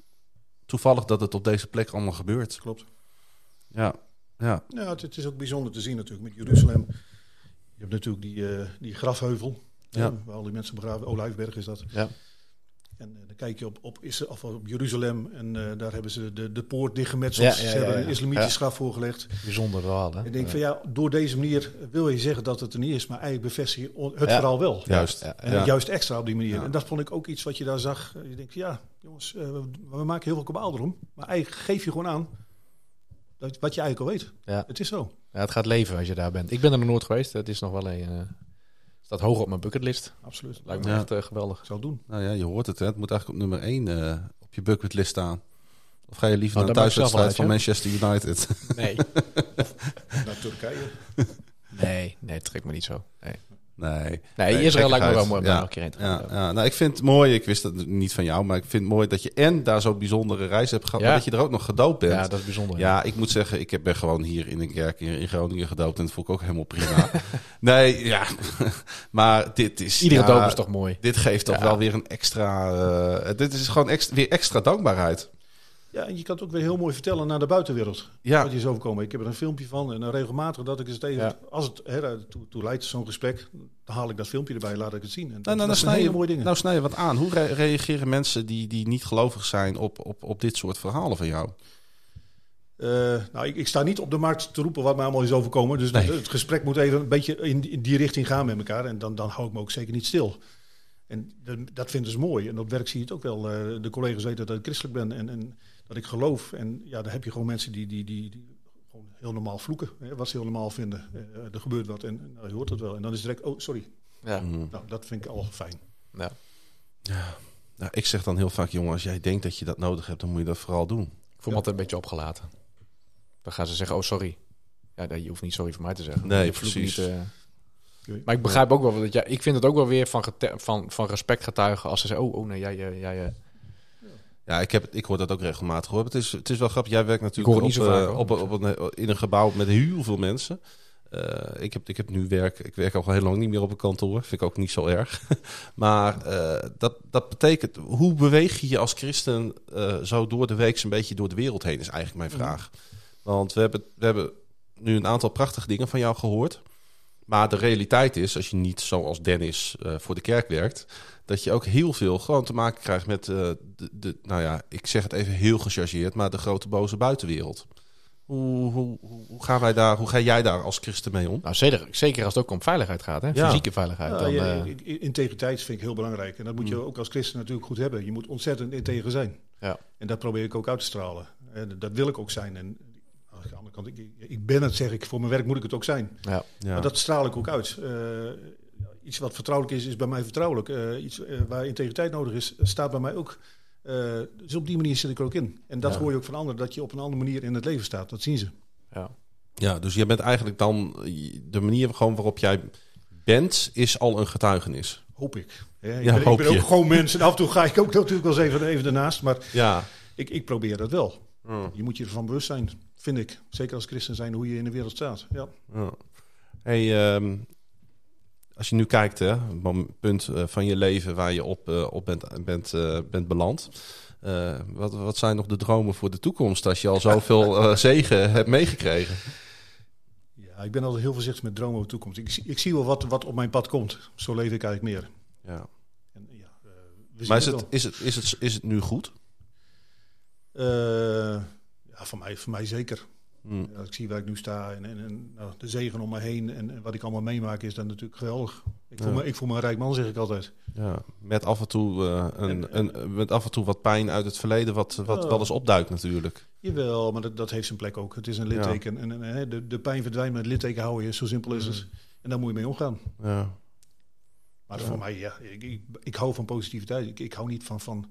toevallig dat het op deze plek allemaal gebeurt.
Klopt.
Ja, ja.
Ja, het, het is ook bijzonder te zien natuurlijk met Jeruzalem. Je hebt natuurlijk die, eh, die grafheuvel, hè,
Ja.
waar al die mensen begraven. Olijfberg is dat.
Ja.
En eh, dan kijk je op, op, Isra- of op Jeruzalem en eh, daar hebben ze de, de poort dichtgemetseld.
Ja, ja,
Ze
ja,
hebben
ja.
een islamitisch
Ja.
graf voorgelegd.
Bijzonder verhaal, hè?
En ik denk van ja, door deze manier wil je zeggen dat het er niet is, maar eigenlijk bevestig je on- het
Ja.
verhaal wel.
Juist.
Ja,
En
Ja.
juist extra op die manier.
Ja.
En dat vond ik ook iets wat je daar zag. Je denkt, ja, jongens, eh, we, we maken heel veel kabaal erom. Maar eigenlijk geef je gewoon aan dat, wat je eigenlijk al weet.
Ja.
Het is zo.
Ja, het gaat leven als je daar bent. Ik ben er nog nooit geweest. Het is nog wel een... eh, staat hoog op mijn bucketlist.
Absoluut.
Lijkt me
Ja.
echt eh, geweldig.
Ik zou het doen.
Nou ja, je hoort het. Hè? Het moet eigenlijk op nummer 1 op je bucketlist staan. Of ga je liever
Oh,
naar een
daar ben ik zelf
thuiswedstrijd van
wel
Manchester United?
Nee.
Naar Turkije.
nee, nee, trek me niet zo. Nee,
nee.
nee, Israël lijkt me
gekkigheid.
wel mooi om daar
Ja,
nog een keer heen te gaan.
Ja, ja, nou, ik vind het mooi. Ik wist dat niet van jou, maar ik vind het mooi dat je en daar zo'n bijzondere reis hebt gehad.
Ja.
Maar dat je er ook nog gedoopt bent.
Ja,
Ja,
dat is bijzonder.
ik moet zeggen, ik heb- ben gewoon hier in een kerk hier in Groningen gedoopt. En dat vond ik ook helemaal prima. nee, ja. maar dit is...
Iedere
ja,
doop is toch mooi.
Dit geeft toch
Ja.
wel weer een extra... eh, dit is gewoon ex- weer extra dankbaarheid.
Ja, en je kan het ook weer heel mooi vertellen naar de buitenwereld.
Ja,
Wat je is overkomen. Ik heb er een filmpje van. En eh, regelmatig dat ik eens tegen...
Ja.
Als het hè, toe, toe leidt, zo'n gesprek, dan haal ik dat filmpje erbij. Laat ik het zien. En dat,
Nou, nou,
dat
nou,
zijn
snij je,
hele mooie dingen.
nou snij je wat aan. Hoe re- reageren mensen die, die niet gelovig zijn op, op, op dit soort verhalen van jou?
Eh, nou, ik, ik sta niet op de markt te roepen wat mij allemaal is overkomen. Dus
Nee.
het, het gesprek moet even een beetje in, die- in die richting gaan met elkaar. En dan, dan hou ik me ook zeker niet stil. En dan- dat vinden ze mooi. En op werk zie je het ook wel. Eh, de collega's weten dat ik christelijk ben en, en dat ik geloof. En ja, dan heb je gewoon mensen die, die, die, die gewoon heel normaal vloeken. Hè, wat ze heel normaal vinden. Eh, er gebeurt wat en nou, je hoort dat wel. En dan is het direct, oh sorry.
Ja.
Mm.
Nou, dat vind ik al fijn.
Ja.
Nou, ik zeg dan heel vaak, jongen, als jij denkt dat je dat nodig hebt, dan moet je dat vooral doen.
Ik voel me altijd een beetje opgelaten. Dan gaan ze zeggen, oh sorry. Ja, nee, je hoeft niet sorry voor mij te zeggen.
Nee,
Je vloekt
precies.
Niet, eh. Maar ik begrijp ook wel wat dat jij... Ik vind het ook wel weer van, gete- van, van respect getuigen als ze zeggen, oh, oh nee, jij... jij, jij, eh.
Ja, ik, heb, het- ik hoor dat ook regelmatig hoor. Maar Het is, het is wel grappig. Jij werkt
Ik hoor
natuurlijk
het
op,
niet zo
eh,
vaak, hoor.
op, een- op een, in een gebouw met heel veel mensen. Eh, ik, heb, ik heb nu werk. Ik werk al heel lang niet meer op een kantoor. Vind ik ook niet zo erg. maar eh, dat, dat betekent, hoe beweeg je je als christen eh, zo door de week een beetje door de wereld heen, is eigenlijk mijn
Mhm.
vraag. Want we hebben, we hebben nu een aantal prachtige dingen van jou gehoord. Maar de realiteit is, als je niet zoals Dennis eh, voor de kerk werkt, dat je ook heel veel gewoon te maken krijgt met eh, de, de, nou ja, ik zeg het even heel gechargeerd, maar de grote boze buitenwereld. Hoe, hoe, hoe, hoe gaan wij daar, hoe ga jij daar als christen mee om?
Nou, zeker, zeker als het ook om veiligheid gaat, hè.
Ja.
Fysieke veiligheid.
Ja,
dan,
je-
eh, Mm.
i- i- integriteit vind ik heel belangrijk. En dat moet je ook als christen natuurlijk goed hebben. Je moet ontzettend integer zijn.
Ja.
En dat probeer ik ook uit te stralen. En dat wil ik ook zijn. En aan de andere kant, ik, ik ben het, zeg ik. Voor mijn werk moet ik het ook zijn.
ja.
Ja.
Maar dat straal ik ook uit. Eh, iets wat vertrouwelijk is, is bij mij vertrouwelijk. Eh, iets eh, waar integriteit nodig is, staat bij mij ook Eh, dus op die manier zit ik er ook in. En dat
Ja.
hoor je ook van anderen, dat je op een andere manier in het leven staat. Dat zien ze.
Ja.
Ja, dus je bent eigenlijk dan de manier gewoon waarop jij bent, is al een getuigenis.
Hoop ik. Ja, ik
Ja,
ben,
hoop
ik ben
je.
ook gewoon mens. En af en toe ga ik ook natuurlijk wel eens even, even ernaast. Maar
Ja.
ik, ik probeer dat wel.
Hmm.
Je moet je ervan bewust zijn, vind ik. Zeker als christen zijn, hoe je in de wereld staat. Ja.
Ja. Hey, ehm, als je nu kijkt, hè, een punt eh, van je leven waar je op, eh, op bent, bent, eh, bent beland. Eh, wat, wat zijn nog de dromen voor de toekomst als je al zoveel eh, zegen hebt meegekregen?
ja, ik ben altijd heel voorzichtig met dromen over de toekomst. Ik, zie- ik zie wel wat, wat op mijn pad komt. Zo leef ik eigenlijk meer.
Ja.
En, ja, eh, we zien
Maar is
het
het,
wel.
is, het, is, het, is het nu goed?
Eh, ja, voor mij, voor mij zeker.
Hm.
Ja, ik zie waar ik nu sta en, en, en nou, de zegen om me heen en, en wat ik allemaal meemaak is dan natuurlijk geweldig. Ik voel,
Ja.
me, ik voel me een rijk man, zeg ik altijd.
Ja. Met, af en toe, eh, een,
En- en-
een, met af en toe wat pijn uit het verleden, wat, wat
Ja.
wel eens opduikt natuurlijk.
Jawel, maar dat, dat heeft zijn plek ook. Het is een litteken. En, en, hè, de, de pijn verdwijnt, maar het litteken hou je. Zo simpel
Hmm.
is het. En daar moet je mee omgaan.
Ja.
Maar
Ja.
voor mij, ja, ik, ik, ik hou van positiviteit. Ik, ik hou niet van, van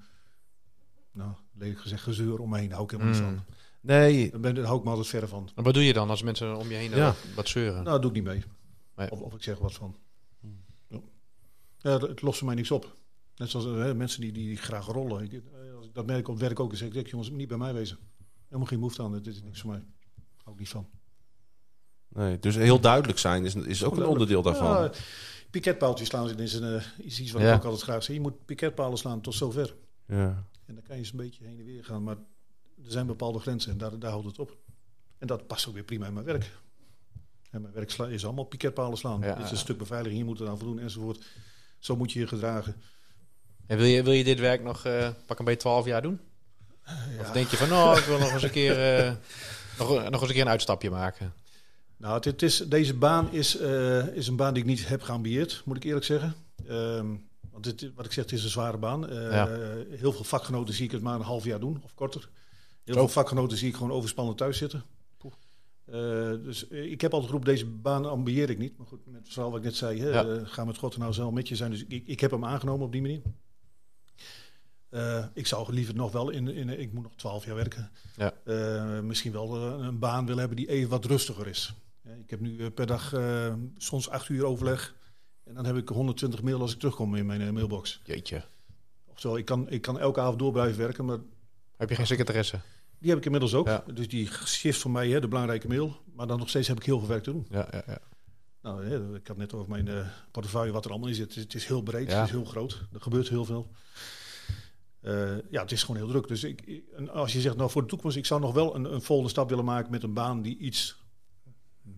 nou, lelijk gezegd, gezeur om me heen. Daar hou ik helemaal niet
Mm.
van.
Nee,
Daar, ben, daar hou ik me altijd verder van.
En wat doe je dan als mensen om je heen daar
Ja.
wat, wat zeuren?
Nou, dat doe ik niet mee.
Nee. Hmm.
Of, of ik zeg wat van. Ja. Ja, dat- het lost voor mij niks op. Net zoals eh, hè, mensen die, die, graag rollen. Ik, eh, als ik dat merk ik op het werk ook. Dan zeg ik, "Dick, jongens, niet bij mij wezen. Helemaal geen behoefte aan. Dit is niks voor mij. Hou ik niet van.
nee, dus heel duidelijk zijn is, is ook een onderdeel daarvan.
Ja, piketpaaltjes slaan is, is, een, eh, is iets wat
Ja.
ik ook altijd graag zie. Je moet piketpalen slaan tot zover.
Ja.
En dan kan je eens een beetje heen en weer gaan. Maar er zijn bepaalde grenzen en daar, daar houdt het op. En dat past ook weer prima in mijn werk. En mijn werk sla- is allemaal piketpalen slaan.
Ja.
Dit is een stuk beveiliging, hier moet het aan voldoen enzovoort. Zo moet je je gedragen.
En wil je, wil je dit werk nog eh, pak een beetje 12 jaar doen? Of denk je van, nou, ik wil nog eens een keer, eh, nog, nog eens een keer een uitstapje maken?
Nou, het, het is, deze baan is, eh, is een baan die ik niet heb geambieerd, moet ik eerlijk zeggen. Ehm, want het, wat ik zeg, het is een zware baan. Eh,
Ja.
Heel veel vakgenoten zie ik het maar een half jaar doen, of korter. Heel
Zo.
veel vakgenoten zie ik gewoon overspannen thuis zitten. Eh, dus eh, ik heb altijd geroepen, deze baan ambieer ik niet. Maar goed, met het verhaal wat ik net zei, hè,
Ja.
eh, ga met God en nou zelf met je zijn. Dus ik, ik heb hem aangenomen op die manier. Eh, ik zou liever nog wel in, in ik moet nog twaalf jaar werken.
Ja.
Eh, misschien wel eh, een baan willen hebben die even wat rustiger is. Eh, ik heb nu eh, per dag eh, soms acht uur overleg. En dan heb ik 120 mail als ik terugkom in mijn eh, mailbox.
Jeetje.
Oftewel, ik kan, ik kan elke avond door blijven werken, maar
Heb je geen secretaresse?
die heb ik inmiddels ook.
Ja.
Dus die shift voor mij, hè, de belangrijke mail. Maar dan nog steeds heb ik heel veel werk te doen.
Ja, ja, ja.
Nou, hè, ik had net over mijn eh, portefeuille, wat er allemaal in zit. Het is- Het is heel breed,
Ja.
het is heel groot. Er gebeurt heel veel. Eh, ja, het is gewoon heel druk. Dus ik, ik- en als je zegt, nou voor de toekomst, ik zou nog wel een, een volgende stap willen maken met een baan die iets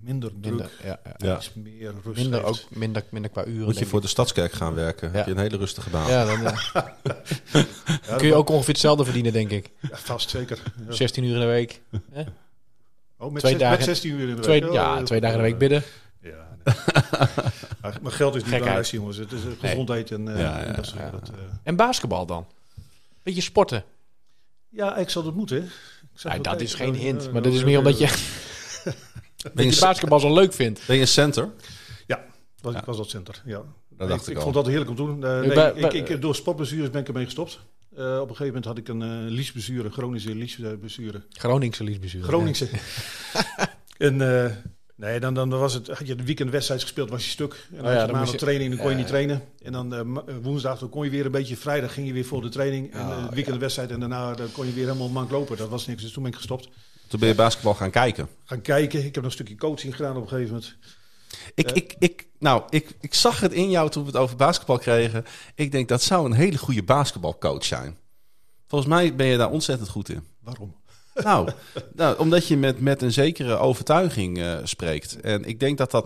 minder druk,
Minder, ja, ja.
Ja.
iets meer rust
minder
geeft.
ook, minder, minder qua uren.
Moet je
denk
voor
ik.
de Stadskerk gaan werken. Heb je een hele rustige baan.
Ja, dan eh,
Ja,
kun je ook ongeveer hetzelfde verdienen, denk ik.
ja, vast zeker. Ja.
16 uur in de week.
Oh, met,
Twee
zes-
dagen-
met 16 uur in de week.
Twee,
Oh,
ja,
eh,
twee dagen in de week bidden.
Ja, nee. maar, maar geld is
Gekheid.
niet belangrijk, jongens. Het is eh, gezondheid en, eh,
Ja, ja,
en dat soort
ja.
dat, eh.
En basketbal dan? Beetje sporten.
Ja, ik zal dat moeten. Ik zag
Nou,
wel
dat is
kijken.
geen
Oh,
hint,
eh,
maar dat
oh,
is meer
oké,
omdat je,
Ben,
dat je
je,
basketbal zo leuk vindt.
ben je een center?
Was,
Ja.
was dat center, ja.
Dat dacht
ik,
ik,
ik
al.
vond dat heerlijk om te doen. Eh, nee,
bij-
ik,
bij-
ik, door sportblessures ben ik ermee gestopt. Eh, op een gegeven moment had ik een eh liesblessure, chronische liesblessure.
Groningse liesbestuur.
Groningse. en eh, nee, dan, dan was het, had je de weekendwedstrijd gespeeld, was je stuk. En
Oh
dan
ja, dan
had je
moest
maandag
je-
training, dan kon je
Ja.
niet trainen. En dan eh, ma- eh, woensdag dan kon je weer een beetje, vrijdag ging je weer voor de training. En
Oh,
eh, de weekendwedstrijd en daarna eh, kon je weer helemaal mank lopen. Dat was niks, dus toen ben ik gestopt.
Toen ben je basketbal gaan kijken.
Gaan kijken, ik heb nog een stukje coaching gedaan op een gegeven moment.
Ik,
Eh.
ik, ik, nou, ik, ik zag het in jou toen we het over basketbal kregen. Ik denk, dat zou een hele goede basketbalcoach zijn. Volgens mij ben je daar ontzettend goed in.
Waarom?
Nou, nou omdat je met, met een zekere overtuiging eh, spreekt. En ik denk dat dat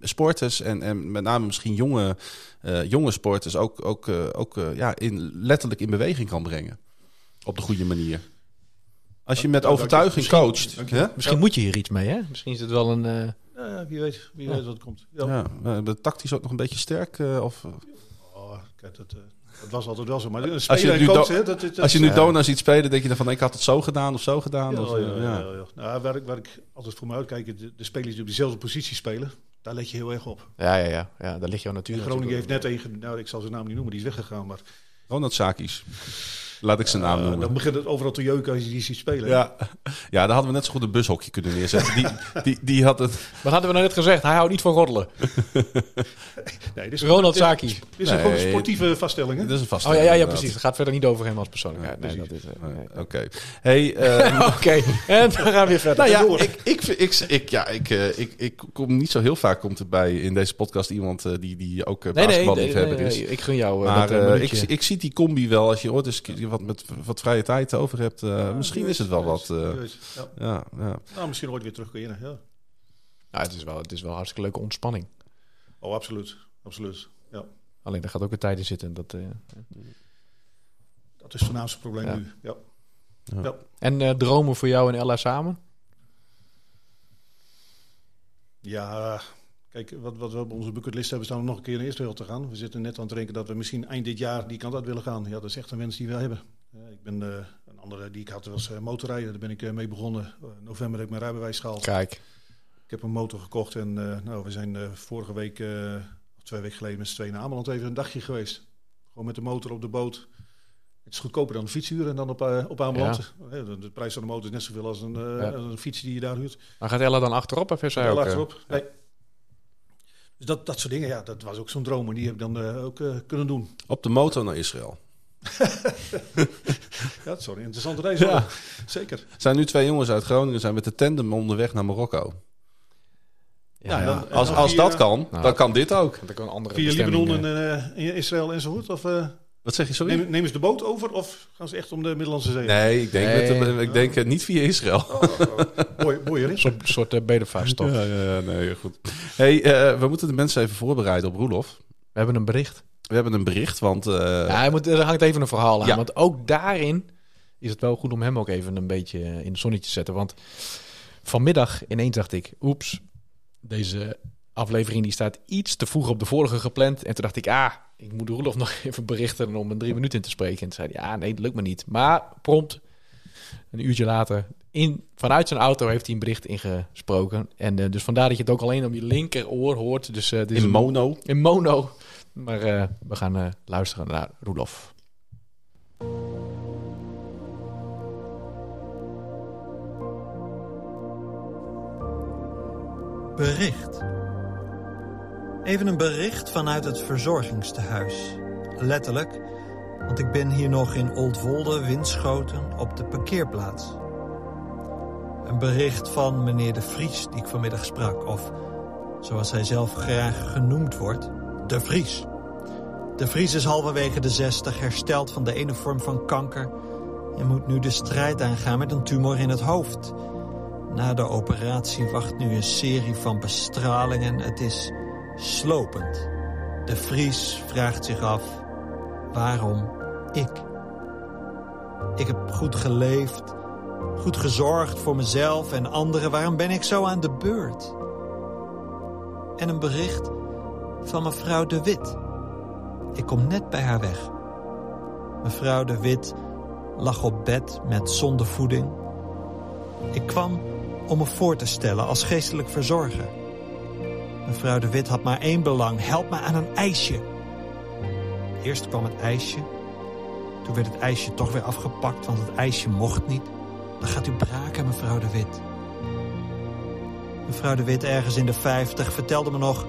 sporters en, en met name misschien jonge, eh, jonge sporters ook, ook, eh, ook eh, ja, in, letterlijk in beweging kan brengen. Op de goede manier. Als je met
dank je.
overtuiging
Misschien-
coacht.
dank je.
Hè?
Misschien moet je hier iets mee, hè? Misschien is het wel een... eh,
Nou ja, wie weet, wie
Ja.
weet wat het komt. Ja.
Ja, eh, de tactisch ook nog een beetje sterk. eh, of,
Oh, kijk, dat, eh, dat was altijd wel zo. Maar een
Als je
speler
nu
en coach,
do-
hè, dat, dat,
als je nu
ja.
Dona ziet spelen, denk je dan van ik had het zo gedaan of zo gedaan.
Ja, oh
of,
ja,
eh,
ja,
ja.
ja, ja. Nou, waar, ik, waar ik altijd voor me uitkijk, de, de spelers die op dezelfde positie spelen, daar let je heel erg op.
Ja, ja, ja, ja. Daar ligt jouw natuur
Groningen heeft
natuurlijk
net één, ge- nou ik zal zijn naam niet noemen, die is weggegaan. Maar
Ronald Sakis. Laat ik zijn naam
Eh,
noemen.
dan begint het overal te jeuken als je die ziet spelen.
Ja. ja, daar hadden we net zo goed een bushokje kunnen neerzetten. Die, die, die had het...
Wat hadden we nou net gezegd? Hij houdt niet van roddelen.
Nee, dit is
Ronald
dit-
Saki.
Dit is een
Nee.
gewoon sportieve vaststelling. hè?
Dat is een vaste.
Oh ja, ja, ja,
inderdaad.
precies. Het gaat verder niet over hem als persoonlijkheid.
Nee,
Nee, dat is... eh,
Eh,
nee.
Oké. Hey, eh,
Oké, en dan gaan we weer verder.
nou ja,
Door.
ik, ik, vind- ik, ik, ja ik, eh, ik, ik kom niet zo heel vaak komt er bij in deze podcast iemand eh, die, die ook uh,
nee, nee, nee,
basketballiefhebber
nee,
is.
nee, ik gun jou eh,
Maar
dat eh,
eh, ik,
minuutje.
ik zie die combi wel, als je ooit eens ki- wat, met, wat vrije tijd over hebt, eh, misschien is het wel wat. eh,
Juist, ja.
ja, ja.
Nou, misschien ooit weer terugkeren. Ja.
Nou, het, is wel, het is wel hartstikke leuke ontspanning.
Oh, absoluut. absoluut. Ja.
Alleen daar gaat ook een tijd in zitten. Dat, eh,
Dat is het voornaamste probleem
Ja.
nu. Ja.
En eh, dromen voor jou en Ella samen?
ja, kijk, wat, wat we op onze bucketlist hebben, staan we nog een keer in de eerste wereld te gaan. We zitten net aan het rekenen dat we misschien eind dit jaar die kant uit willen gaan. Ja, dat is echt een wens die we hebben. Eh, ik ben eh, een andere die ik had was eh, motorrijden. Daar ben ik eh, mee begonnen. Eh, november heb ik mijn rijbewijs gehaald.
Kijk.
Ik heb een motor gekocht en eh, nou, we zijn eh, vorige week, eh, of twee weken geleden, met z'n tweeën naar Ameland even een dagje geweest. Gewoon met de motor op de boot. Het is goedkoper dan een fiets huren en dan op, eh, op Ameland. Eh, De, de prijs van de motor is net zoveel als een, eh,
Ja.
als een fiets die je daar huurt.
Maar gaat Ella dan achterop of is zij
Daar
ook? eh,
lag erop. Nee. Dus dat, dat soort dingen, ja, dat was ook zo'n droom. En die heb ik dan eh, ook eh, kunnen doen.
Op de motor naar Israël.
Ja, dat zou een interessante reis
Ja.
worden. Zeker.
Er zijn nu twee jongens uit Groningen, zijn met de tandem onderweg naar Marokko.
Ja,
Ja,
ja.
dan-
Als,
dan
als
via-
dat kan,
Nou.
dan kan dit ook.
Want ik kan een andere
Via
bestemming,
Libanon en
eh,
eh, in Israël enzovoort? Of eh
Wat zeg je, sorry?
nemen, nemen ze de boot over of gaan ze echt om de Middellandse Zee?
Nee, ik denk,
Nee.
Met de- ik denk eh, niet via Israël.
Mooi, mooie rit.
soort, soort eh, bedevaartstocht.
Ja, ja, ja, nee, goed. Hey, eh, we moeten de mensen even voorbereiden op Roelof.
We hebben een bericht.
We hebben een bericht, want eh,
ja, hij moet, er hangt even een verhaal aan.
Ja.
Want ook daarin is het wel goed om hem ook even een beetje eh, in het zonnetje te zetten. Want vanmiddag ineens dacht ik, oeps, deze aflevering die staat iets te vroeg op de vorige gepland. En toen dacht ik, ah, ik moet Roelof nog even berichten om een drie minuten in te spreken. En toen zei hij, ja, nee, dat lukt me niet. Maar prompt, een uurtje later, in, vanuit zijn auto heeft hij een bericht ingesproken. En eh, dus vandaar dat je het ook alleen om je linkeroor hoort. Dus, eh, dit is
in
een-
mono.
in mono. Maar eh, we gaan eh, luisteren naar Roelof.
Bericht. Even een bericht vanuit het verzorgingstehuis. Letterlijk, want ik ben hier nog in Oldwolde, Winschoten, op de parkeerplaats. Een bericht van meneer De Vries die ik vanmiddag sprak, of zoals hij zelf graag genoemd wordt, De Vries. De Vries is halverwege de 60 hersteld van de ene vorm van kanker en moet nu de strijd aangaan met een tumor in het hoofd. Na de operatie wacht nu een serie van bestralingen. Het is slopend. De Vries vraagt zich af: waarom ik? Ik heb goed geleefd, goed gezorgd voor mezelf en anderen. Waarom ben ik zo aan de beurt? En een bericht van mevrouw De Wit. Ik kom net bij haar weg. Mevrouw De Wit lag op bed met zonder voeding. Ik kwam om me voor te stellen als geestelijk verzorger. Mevrouw de Wit had maar één belang: help me aan een ijsje. Eerst kwam het ijsje. Toen werd het ijsje toch weer afgepakt, want het ijsje mocht niet. Dan gaat u braken, mevrouw de Wit. Mevrouw de Wit, ergens in de vijftig, vertelde me nog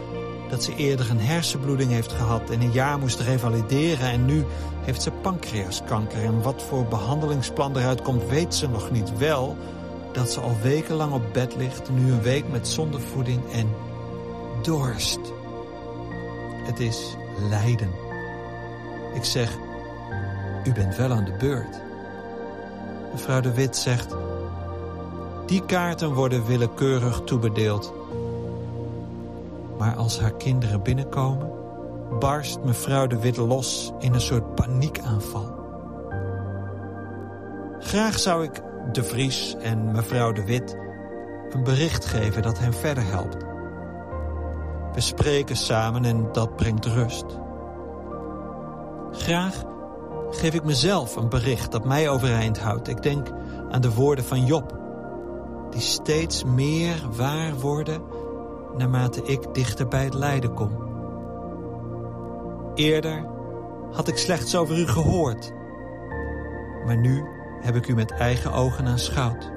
dat ze eerder een hersenbloeding heeft gehad en een jaar moest revalideren. En nu heeft ze pancreaskanker. En wat voor behandelingsplan eruit komt, weet ze nog niet wel dat ze al wekenlang op bed ligt, nu een week met zondevoeding en dorst. Het is lijden. Ik zeg, u bent wel aan de beurt. Mevrouw de Wit zegt, die kaarten worden willekeurig toebedeeld. Maar als haar kinderen binnenkomen, barst mevrouw de Wit los in een soort paniekaanval. Graag zou ik De Vries en mevrouw De Wit een bericht geven dat hen verder helpt. We spreken samen en dat brengt rust. Graag geef ik mezelf een bericht dat mij overeind houdt. Ik denk aan de woorden van Job, die steeds meer waar worden naarmate ik dichter bij het lijden kom. Eerder had ik slechts over u gehoord Maar nu heb ik u met eigen ogen aanschouwd.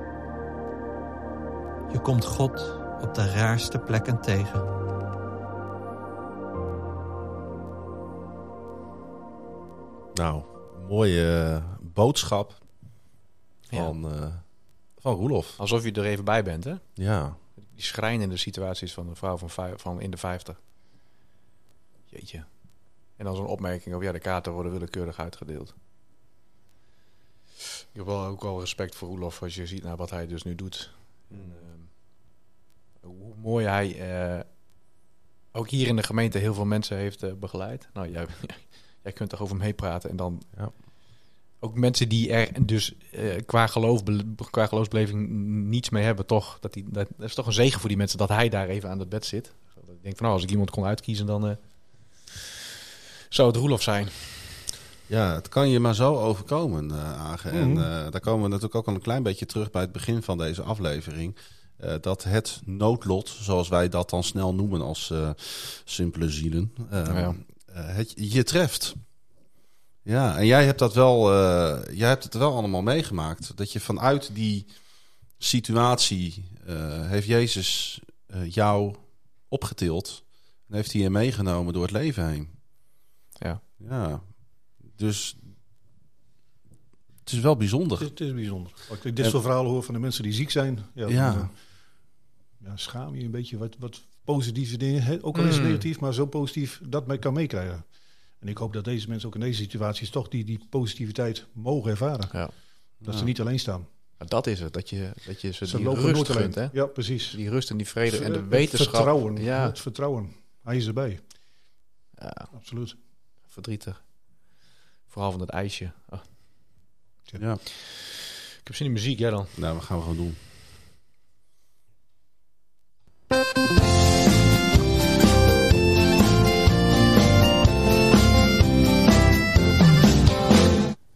Je komt God op de raarste plekken tegen.
Nou, mooie eh, boodschap
Ja.
van, eh van Roelof.
Alsof je er even bij bent, hè?
Ja.
Die schrijnende situaties van een vrouw van, vijf- van in de 50. Jeetje. En dan zo'n opmerking over ja, de kaarten worden willekeurig uitgedeeld. Ik heb wel ook wel respect voor Roelof als je ziet naar wat hij dus nu doet. En, ehm, hoe mooi hij eh, ook hier in de gemeente heel veel mensen heeft eh, begeleid. Nou, jij, jij kunt toch over hem heen praten en dan.
Ja.
Ook mensen die er dus eh, qua, geloof, qua geloofsbeleving niets mee hebben, toch? Dat, die, dat, dat is toch een zegen voor die mensen dat hij daar even aan het bed zit. Dat Ik denk van nou, als ik iemand kon uitkiezen, dan eh, zou het Roelof zijn.
ja, het kan je maar zo overkomen, eh Agen. En
Mhm.
eh, daar komen we natuurlijk ook al een klein beetje terug bij het begin van deze aflevering. Eh, dat het noodlot, zoals wij dat dan snel noemen als eh, simpele zielen, eh,
Ja.
eh, het, je treft. Ja, en jij hebt dat wel, eh, jij hebt het wel allemaal meegemaakt. Dat je vanuit die situatie eh, heeft Jezus eh, jou opgetild en heeft hij je meegenomen door het leven heen.
Ja.
Ja. Dus het is wel bijzonder.
Het is, het is bijzonder. Als ik dit soort verhalen hoor van de mensen die ziek zijn, ja,
Ja.
dan, eh, ja, schaam je een beetje wat, wat positieve dingen. hè, Ook al is het
Mm.
negatief, maar zo positief dat men kan meekrijgen. En ik hoop dat deze mensen ook in deze situaties toch die, die positiviteit mogen ervaren.
Ja.
Dat
Ja.
ze niet alleen staan.
Maar dat is het, dat je, dat je ze,
Ze
die
lopen
rust
nooit alleen.
gunt, hè?
Ja, precies.
Die rust en die vrede en de
Het
wetenschap.
Vertrouwen.
Ja,
Het vertrouwen. Hij is erbij.
ja,
Absoluut.
verdrietig. Vooral van dat ijsje. Ah,
Ja.
ik heb zin in muziek, jij dan?
Nou, dat gaan we gewoon doen.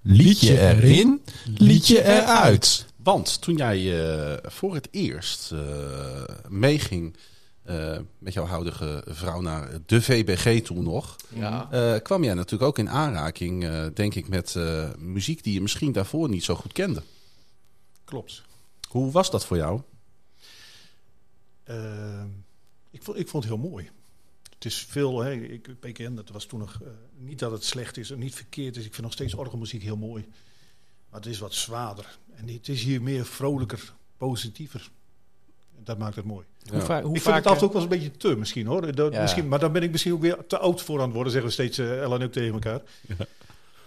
Liedje erin, liedje eruit.
Want toen jij eh, voor het eerst eh, meeging eh, met jouw huidige vrouw naar de VBG toen nog,
Ja.
eh, kwam jij natuurlijk ook in aanraking, eh, denk ik, met eh, muziek die je misschien daarvoor niet zo goed kende.
Klopt.
Hoe was dat voor jou?
Eh, ik, vond, ik vond het heel mooi. Het is veel, hè, ik, PKN, dat was toen nog eh, niet dat het slecht is en niet verkeerd is. Ik vind nog steeds orgelmuziek heel mooi. Maar het is wat zwaarder. En het is hier meer vrolijker, positiever. En dat maakt het mooi.
Hoe, vaak hoe
ik
vaak... eh,
vind het af en toe ook wel eens een beetje te misschien hoor. Dat-
Ja.
misschien, maar dan ben ik misschien ook weer te oud voor aan het worden, zeggen we steeds eh Ellen en ik tegen elkaar.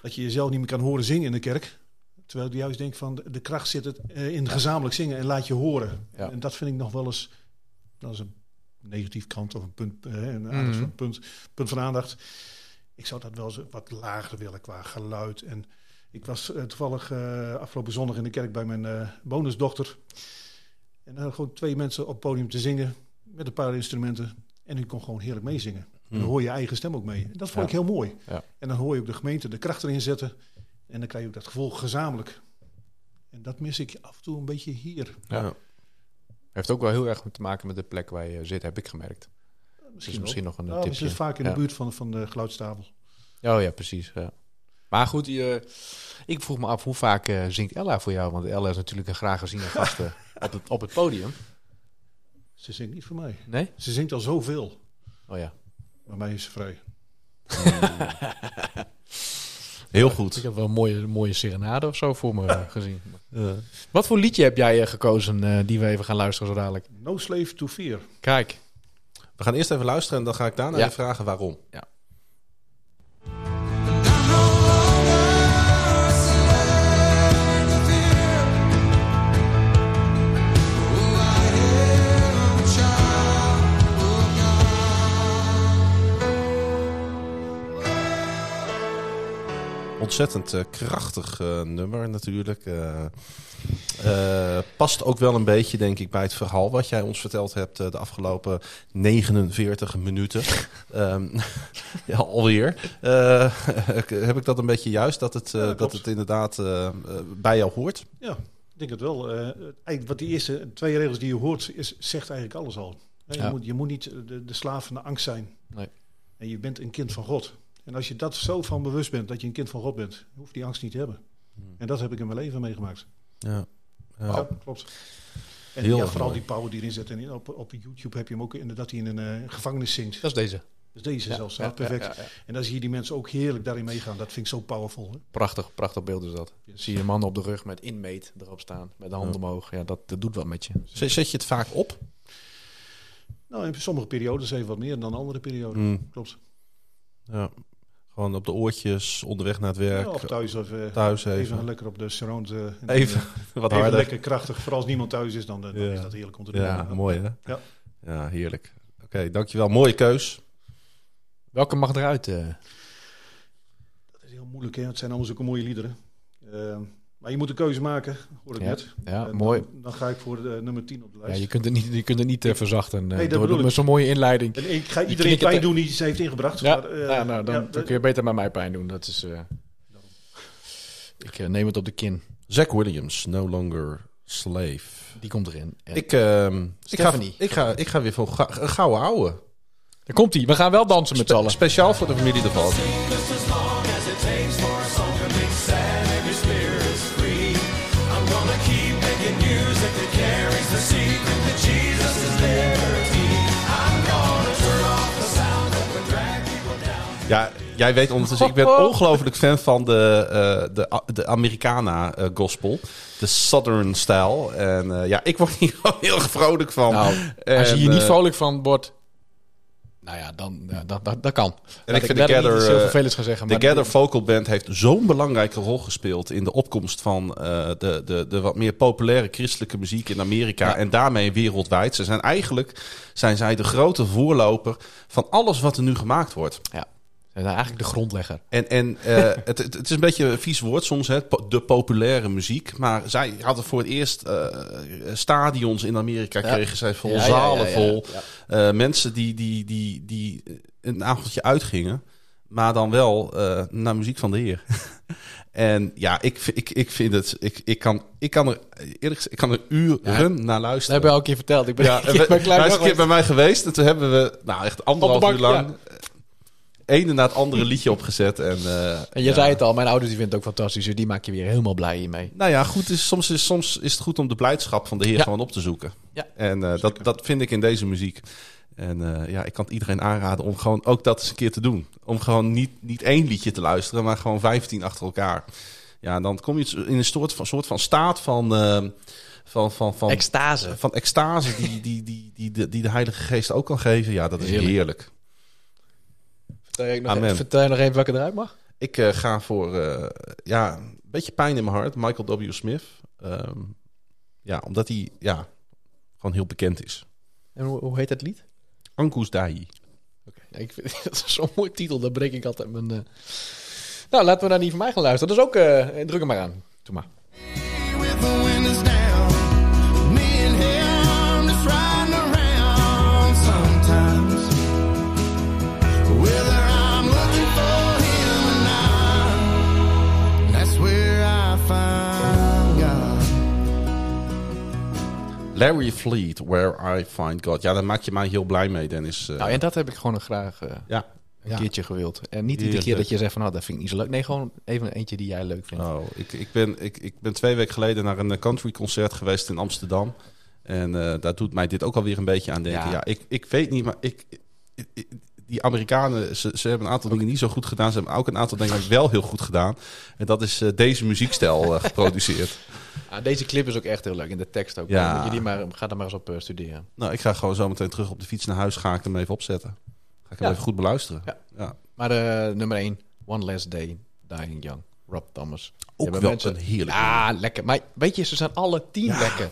Dat je jezelf niet meer kan horen zingen in de kerk. Terwijl ik juist denk van de- de kracht zit het eh, in gezamenlijk zingen en laat je horen.
Ja.
En dat vind ik nog wel eens, dat is een negatief kant of een punt, eh, een aandacht
Mhm.
van, punt, punt van aandacht. Ik zou dat wel eens wat lager willen qua geluid. En ik was eh, toevallig eh, afgelopen zondag in de kerk bij mijn eh, bonusdochter. En daar gewoon twee mensen op het podium te zingen met een paar instrumenten. En ik kon gewoon heerlijk meezingen. En dan hoor je je eigen stem ook mee. En dat vond
Mhm. Ja.
ik heel mooi.
Ja.
En dan hoor je ook de gemeente de kracht erin zetten. En dan krijg je ook dat gevoel gezamenlijk. En dat mis ik af en toe een beetje hier.
Ja. Heeft ook wel heel erg te maken met de plek waar je zit, heb ik gemerkt.
Misschien,
Dus misschien nog een
wel.
eh,
Ja, we
tipje.
zitten vaak in
Ja.
de buurt van, van de geluidstafel.
Oh ja, precies. Ja. Maar goed, je, ik vroeg me af hoe vaak eh, zingt Ella voor jou? Want Ella is natuurlijk een graag geziene gast eh, op, het, op het podium.
Ze zingt niet voor mij.
Nee?
Ze zingt al zoveel.
Oh ja.
Maar mij is ze vrij.
Heel
Ik
goed.
heb wel een mooie, mooie serenade of zo voor me eh, gezien. Wat voor liedje heb jij eh, gekozen eh, die we even gaan luisteren zo dadelijk?
No Slave to Fear.
Kijk.
We gaan eerst even luisteren en dan ga ik daarna
Ja.
je vragen waarom. Ontzettend eh, krachtig eh, nummer natuurlijk. Eh, eh, past ook wel een beetje, denk ik, bij het verhaal wat jij ons verteld hebt eh, de afgelopen 49 minuten. Ehm, ja, alweer. Eh, heb ik dat een beetje juist, dat het, eh,
Ja,
dat,
dat
het
klopt.
inderdaad eh, eh, bij jou hoort?
Ja, ik denk het wel. Eh, eigenlijk wat die eerste twee regels die je hoort, is, zegt eigenlijk alles al. Hè,
Ja.
Je, moet, je moet niet de, de slaaf van de angst zijn.
Nee.
En je bent een kind van God. En als je dat zo van bewust bent, dat je een kind van God bent, hoef je die angst niet te hebben. En dat heb ik in mijn leven meegemaakt.
Ja.
Ja,
Ja.
klopt. En
Heel
ja,
erg
vooral
mooi.
die power die erin zit. En in- op, op YouTube heb je hem ook inderdaad die in een eh, gevangenis zingt.
Dat is deze.
Dus deze zelfs staat perfect.
ja, ja.
En dan zie je die mensen ook heerlijk daarin meegaan. Dat vind ik zo powerful. Hè?
Prachtig, prachtig beeld is dat. Zie je mannen op de rug met inmeet erop staan, met de hand omhoog. Ja, dat, dat doet wat met je.
Zet zet je het vaak op?
Nou, in sommige periodes even wat meer dan andere perioden.
Mm.
Klopt.
Ja. Gewoon op de oortjes, onderweg naar het werk,
Ja, of thuis of eh,
thuis
even
even.
lekker op de surround. eh, en dan,
Even
eh,
wat
even
harder.
lekker krachtig. Vooral als niemand thuis is, dan, eh, dan
Ja.
is dat heerlijk om te doen.
Ja, mooi hè?
Ja.
Ja, heerlijk. Oké, dankjewel. Mooie keus.
Welke mag eruit? eh?
Dat is heel moeilijk. Hè? Het zijn allemaal zulke mooie liederen. Eh, maar je moet een keuze maken, hoor ik
Ja,
net.
Ja,
En
mooi.
Dan, dan ga ik voor de, eh, nummer 10 op de
Ja,
lijst.
je kunt het niet, je kunt het niet eh, verzachten. eh,
Nee, dat
door-
bedoel
door,
ik.
met zo'n mooie inleiding.
En ik ga
knikt
iedereen
het,
pijn
hè?
doen die ze heeft ingebracht.
Ja,
maar, eh,
ja, nou, dan,
ja,
dan kun je beter met mij pijn doen. Dat is, eh, ik eh, neem het op de kin.
Zack Williams, No Longer Slave.
Die komt erin. En
Ik, ehm, ik, ga,
Stephanie.
ik, ga, ik ga weer voor ga, een gouden ouwe.
Daar komt hij. We gaan wel dansen met z'n allen.
Speciaal voor de familie de Valk. Ja, jij weet ondertussen, ik ben ongelooflijk fan van de, eh, de, A- de Americana eh, gospel. De Southern style. En eh, ja, ik word hier gewoon heel erg vrolijk van.
Nou, als je
En,
hier niet
eh,
vrolijk van wordt... Nou ja, dan, ja, dat, dat, dat kan.
En
Laat
ik vind
verder
de Gather,
niet iets heel
eh,
vervelends gaan zeggen.
De
maar-
Gather Vocal Band heeft zo'n belangrijke rol gespeeld in de opkomst van eh, de, de, de wat meer populaire christelijke muziek in Amerika en daarmee wereldwijd. Ze zijn eigenlijk zijn zij de grote voorloper van alles wat er nu gemaakt wordt.
Ja, ze zijn eigenlijk de grondlegger.
En, en eh, het, het, het is een beetje een vies woord soms, hè, po- de populaire muziek. Maar zij hadden voor het eerst eh, stadions in Amerika,
Ja.
kregen zij vol,
Ja, ja, ja,
zalen
ja,
vol.
ja.
Eh, mensen die, die, die, die een avondje uitgingen, maar dan wel eh, naar muziek van de Heer. en ja, ik, vi- ik, ik vind het, ik, ik, kan, ik kan er eerlijk gezegd, ik kan er uren naar
Dat
luisteren.
heb je al een keer verteld. Ik ben
Ja, en
ja,
we-
mijn
hij is
klein
een keer bij mij geweest en toen hebben we nou, echt anderhalf
Op de
uur
bank,
lang eh, ene na het andere liedje opgezet. En, eh,
En je
ja.
zei het al, mijn ouders die vinden het ook fantastisch. Dus die maak je weer helemaal blij hiermee.
Nou ja, goed is, soms, is, soms is het goed om de blijdschap van de Heer
Ja.
gewoon op te zoeken.
Ja.
En eh, dat, dat vind ik in deze muziek. En eh, ja, ik kan het iedereen aanraden om gewoon ook dat eens een keer te doen. Om gewoon niet, niet één liedje te luisteren, maar gewoon 15 achter elkaar. Ja, en dan kom je in een soort van, soort van staat van, eh, van, van, van,
Extase.
van extase die, die, die, die, die, die de Heilige Geest ook kan geven. Ja, dat is
Heerlijk.
heerlijk.
Vertel je nog,
Amen.
even, vertel je nog even welke eruit mag?
Ik eh, ga voor, eh, ja, een beetje pijn in mijn hart. Michael W. Smith. Ehm, ja, omdat hij, ja, gewoon heel bekend is.
En hoe, hoe heet dat lied?
Ankus Dai.
Ja, ik vind, dat is zo'n mooi titel, daar breek ik altijd mijn... eh. Nou, laten we naar die van mij gaan luisteren. Dat is ook... eh, druk hem maar aan. Doe maar.
With the windows down, me and him just riding around sometimes. Whether I'm looking for him or not, that's where I find God.
Larry Fleet, Where I Find God. Ja, daar maak je mij heel blij mee, Dennis. Eh,
Nou, en dat heb ik gewoon graag eh,
ja.
een
Ja.
keertje gewild. En niet iedere
Heerlijk.
keer dat je zegt van, nou, dat vind ik niet zo leuk. Nee, gewoon even eentje die jij leuk vindt.
Oh, ik, ik, ben, ik, ik ben twee weken geleden naar een country concert geweest in Amsterdam. En eh, daar doet mij dit ook alweer een beetje aan denken.
Ja.
Ja, ik, ik weet niet, maar ik, ik- ik- die Amerikanen, ze, ze hebben een aantal dingen niet zo goed gedaan. Ze hebben ook een aantal dingen wel heel goed gedaan. En dat is eh, deze muziekstijl eh, geproduceerd.
Ah, deze clip is ook echt heel leuk. En de tekst ook.
Ja.
Dan Moet je die maar, ga daar maar eens op eh, studeren.
nou, ik ga gewoon zo meteen terug op de fiets naar huis. Ga ik hem even opzetten. Ga ik hem
Ja.
even goed beluisteren.
Ja.
Ja.
Maar eh, nummer 1, One Last Day, Dying Young, Rob Thomas. Die
Ook
hebben
wel een heerlijk
Ja, lekker. Maar weet je, ze zijn alle tien lekker.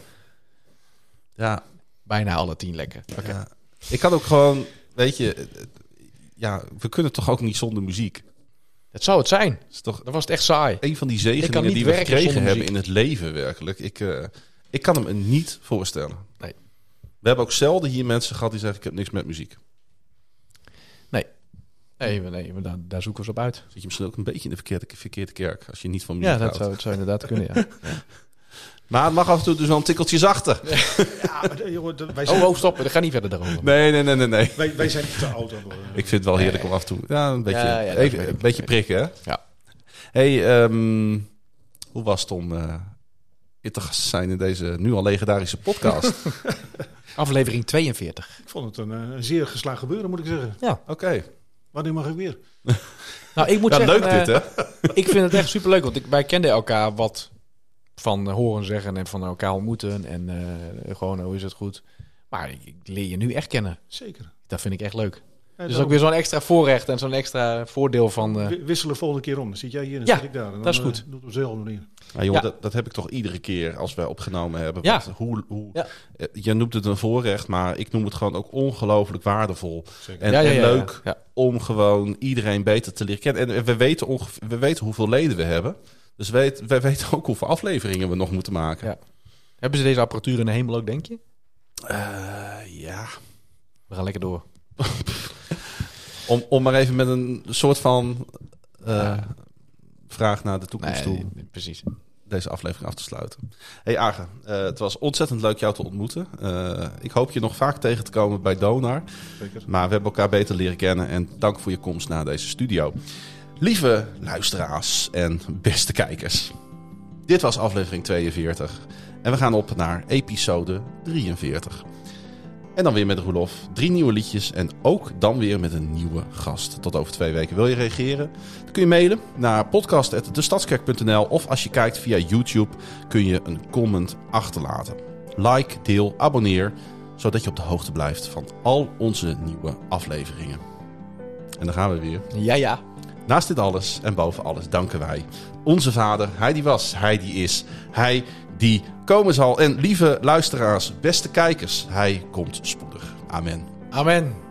Ja,
Bijna alle tien lekker. Oké.
ja. Ik kan ook gewoon, weet je, eh, eh, ja, we kunnen toch ook niet zonder muziek.
Dat zou het zijn.
Het is toch
Dan was het echt saai.
een van die
Ik kan
zegeningen
niet
die we
werken
gekregen
zonder
hebben in het leven werkelijk. Ik, eh, ik kan hem er niet voorstellen.
Nee.
We hebben ook zelden hier mensen gehad die zeggen ik heb niks met muziek.
Nee, maar nee maar daar, daar zoeken we ze op uit.
Zit je misschien ook een beetje in de verkeerde, verkeerde kerk als je niet van muziek
Ja, dat
houdt.
zou, het zou inderdaad kunnen, ja.
Maar het mag af en toe dus wel een tikkeltje zachter.
Ja, maar, eh, joh, de- wij, zijn,
Oh, oh, stop. Dat gaat niet verder daarover.
Nee, nee, nee, nee, nee.
wij, wij zijn te oud. al, eh.
Ik vind het wel heerlijk om af en toe ja, een beetje,
Ja, ja, dat
even,
weet ik.
een beetje prikken. Hè?
Ja.
Hey, ehm, Hoe was het om eh hier te gast te zijn in deze nu al legendarische podcast? Oké,
Aflevering 42.
Ik vond het een, eh, een zeer geslaagd gebeuren, moet ik zeggen. Wanneer mag ik weer?
Nou, ik moet
ja,
zeggen,
leuk dit
eh,
hè?
ik vind het echt superleuk, want ik, wij kenden elkaar wat van eh, horen zeggen en van elkaar ontmoeten. En eh, gewoon, hoe is het goed? Maar ik, ik leer je nu echt kennen.
Zeker.
Dat vind ik echt leuk.
Ja,
dus
daarom.
ook weer zo'n extra voorrecht en zo'n extra voordeel van... eh,
Wi- Wisselen volgende keer om. Dan zit jij hier en
Ja,
zit ik daar. En dan,
dat is
eh,
goed.
Doe het op dezelfde manier.
Nou, jongen,
Ja.
dat, dat heb ik toch iedere keer als wij opgenomen hebben.
Ja.
Want Hoe, hoe,
Ja.
eh, Je noemt het een voorrecht, maar ik noem het gewoon ook ongelooflijk waardevol.
Zeker.
En,
ja, ja,
en
ja, ja.
leuk
Ja.
om gewoon iedereen beter te leren kennen. En eh, we weten, ongeveer, we weten hoeveel leden we hebben. Dus weet, wij weten ook hoeveel afleveringen we nog moeten maken.
Ja. Hebben ze deze apparatuur in de hemel ook, denk je?
Eh, ja.
We gaan lekker door.
Om, om maar even met een soort van eh,
Ja.
vraag naar de toekomst toe
precies.
deze aflevering af te sluiten. Hey Agen, eh, het was ontzettend leuk jou te ontmoeten. Eh, ik hoop je nog vaak tegen te komen bij Donar.
Zeker.
Maar we hebben elkaar beter leren kennen en dank voor je komst naar deze studio. Lieve luisteraars en beste kijkers. Dit was aflevering 42 en we gaan op naar episode 43. En dan weer met Roelof. Drie nieuwe liedjes en ook dan weer met een nieuwe gast. Tot over twee weken. Wil je reageren? Dan kun je mailen naar podcast.destadskerk.nl of als je kijkt via YouTube kun je een comment achterlaten. Like, deel, abonneer, zodat je op de hoogte blijft van al onze nieuwe afleveringen. En daar gaan we weer.
Ja, ja.
Naast dit alles en boven alles danken wij onze vader. Hij die was, hij die is, hij die komen zal. En lieve luisteraars, beste kijkers, hij komt spoedig. Amen.
Amen.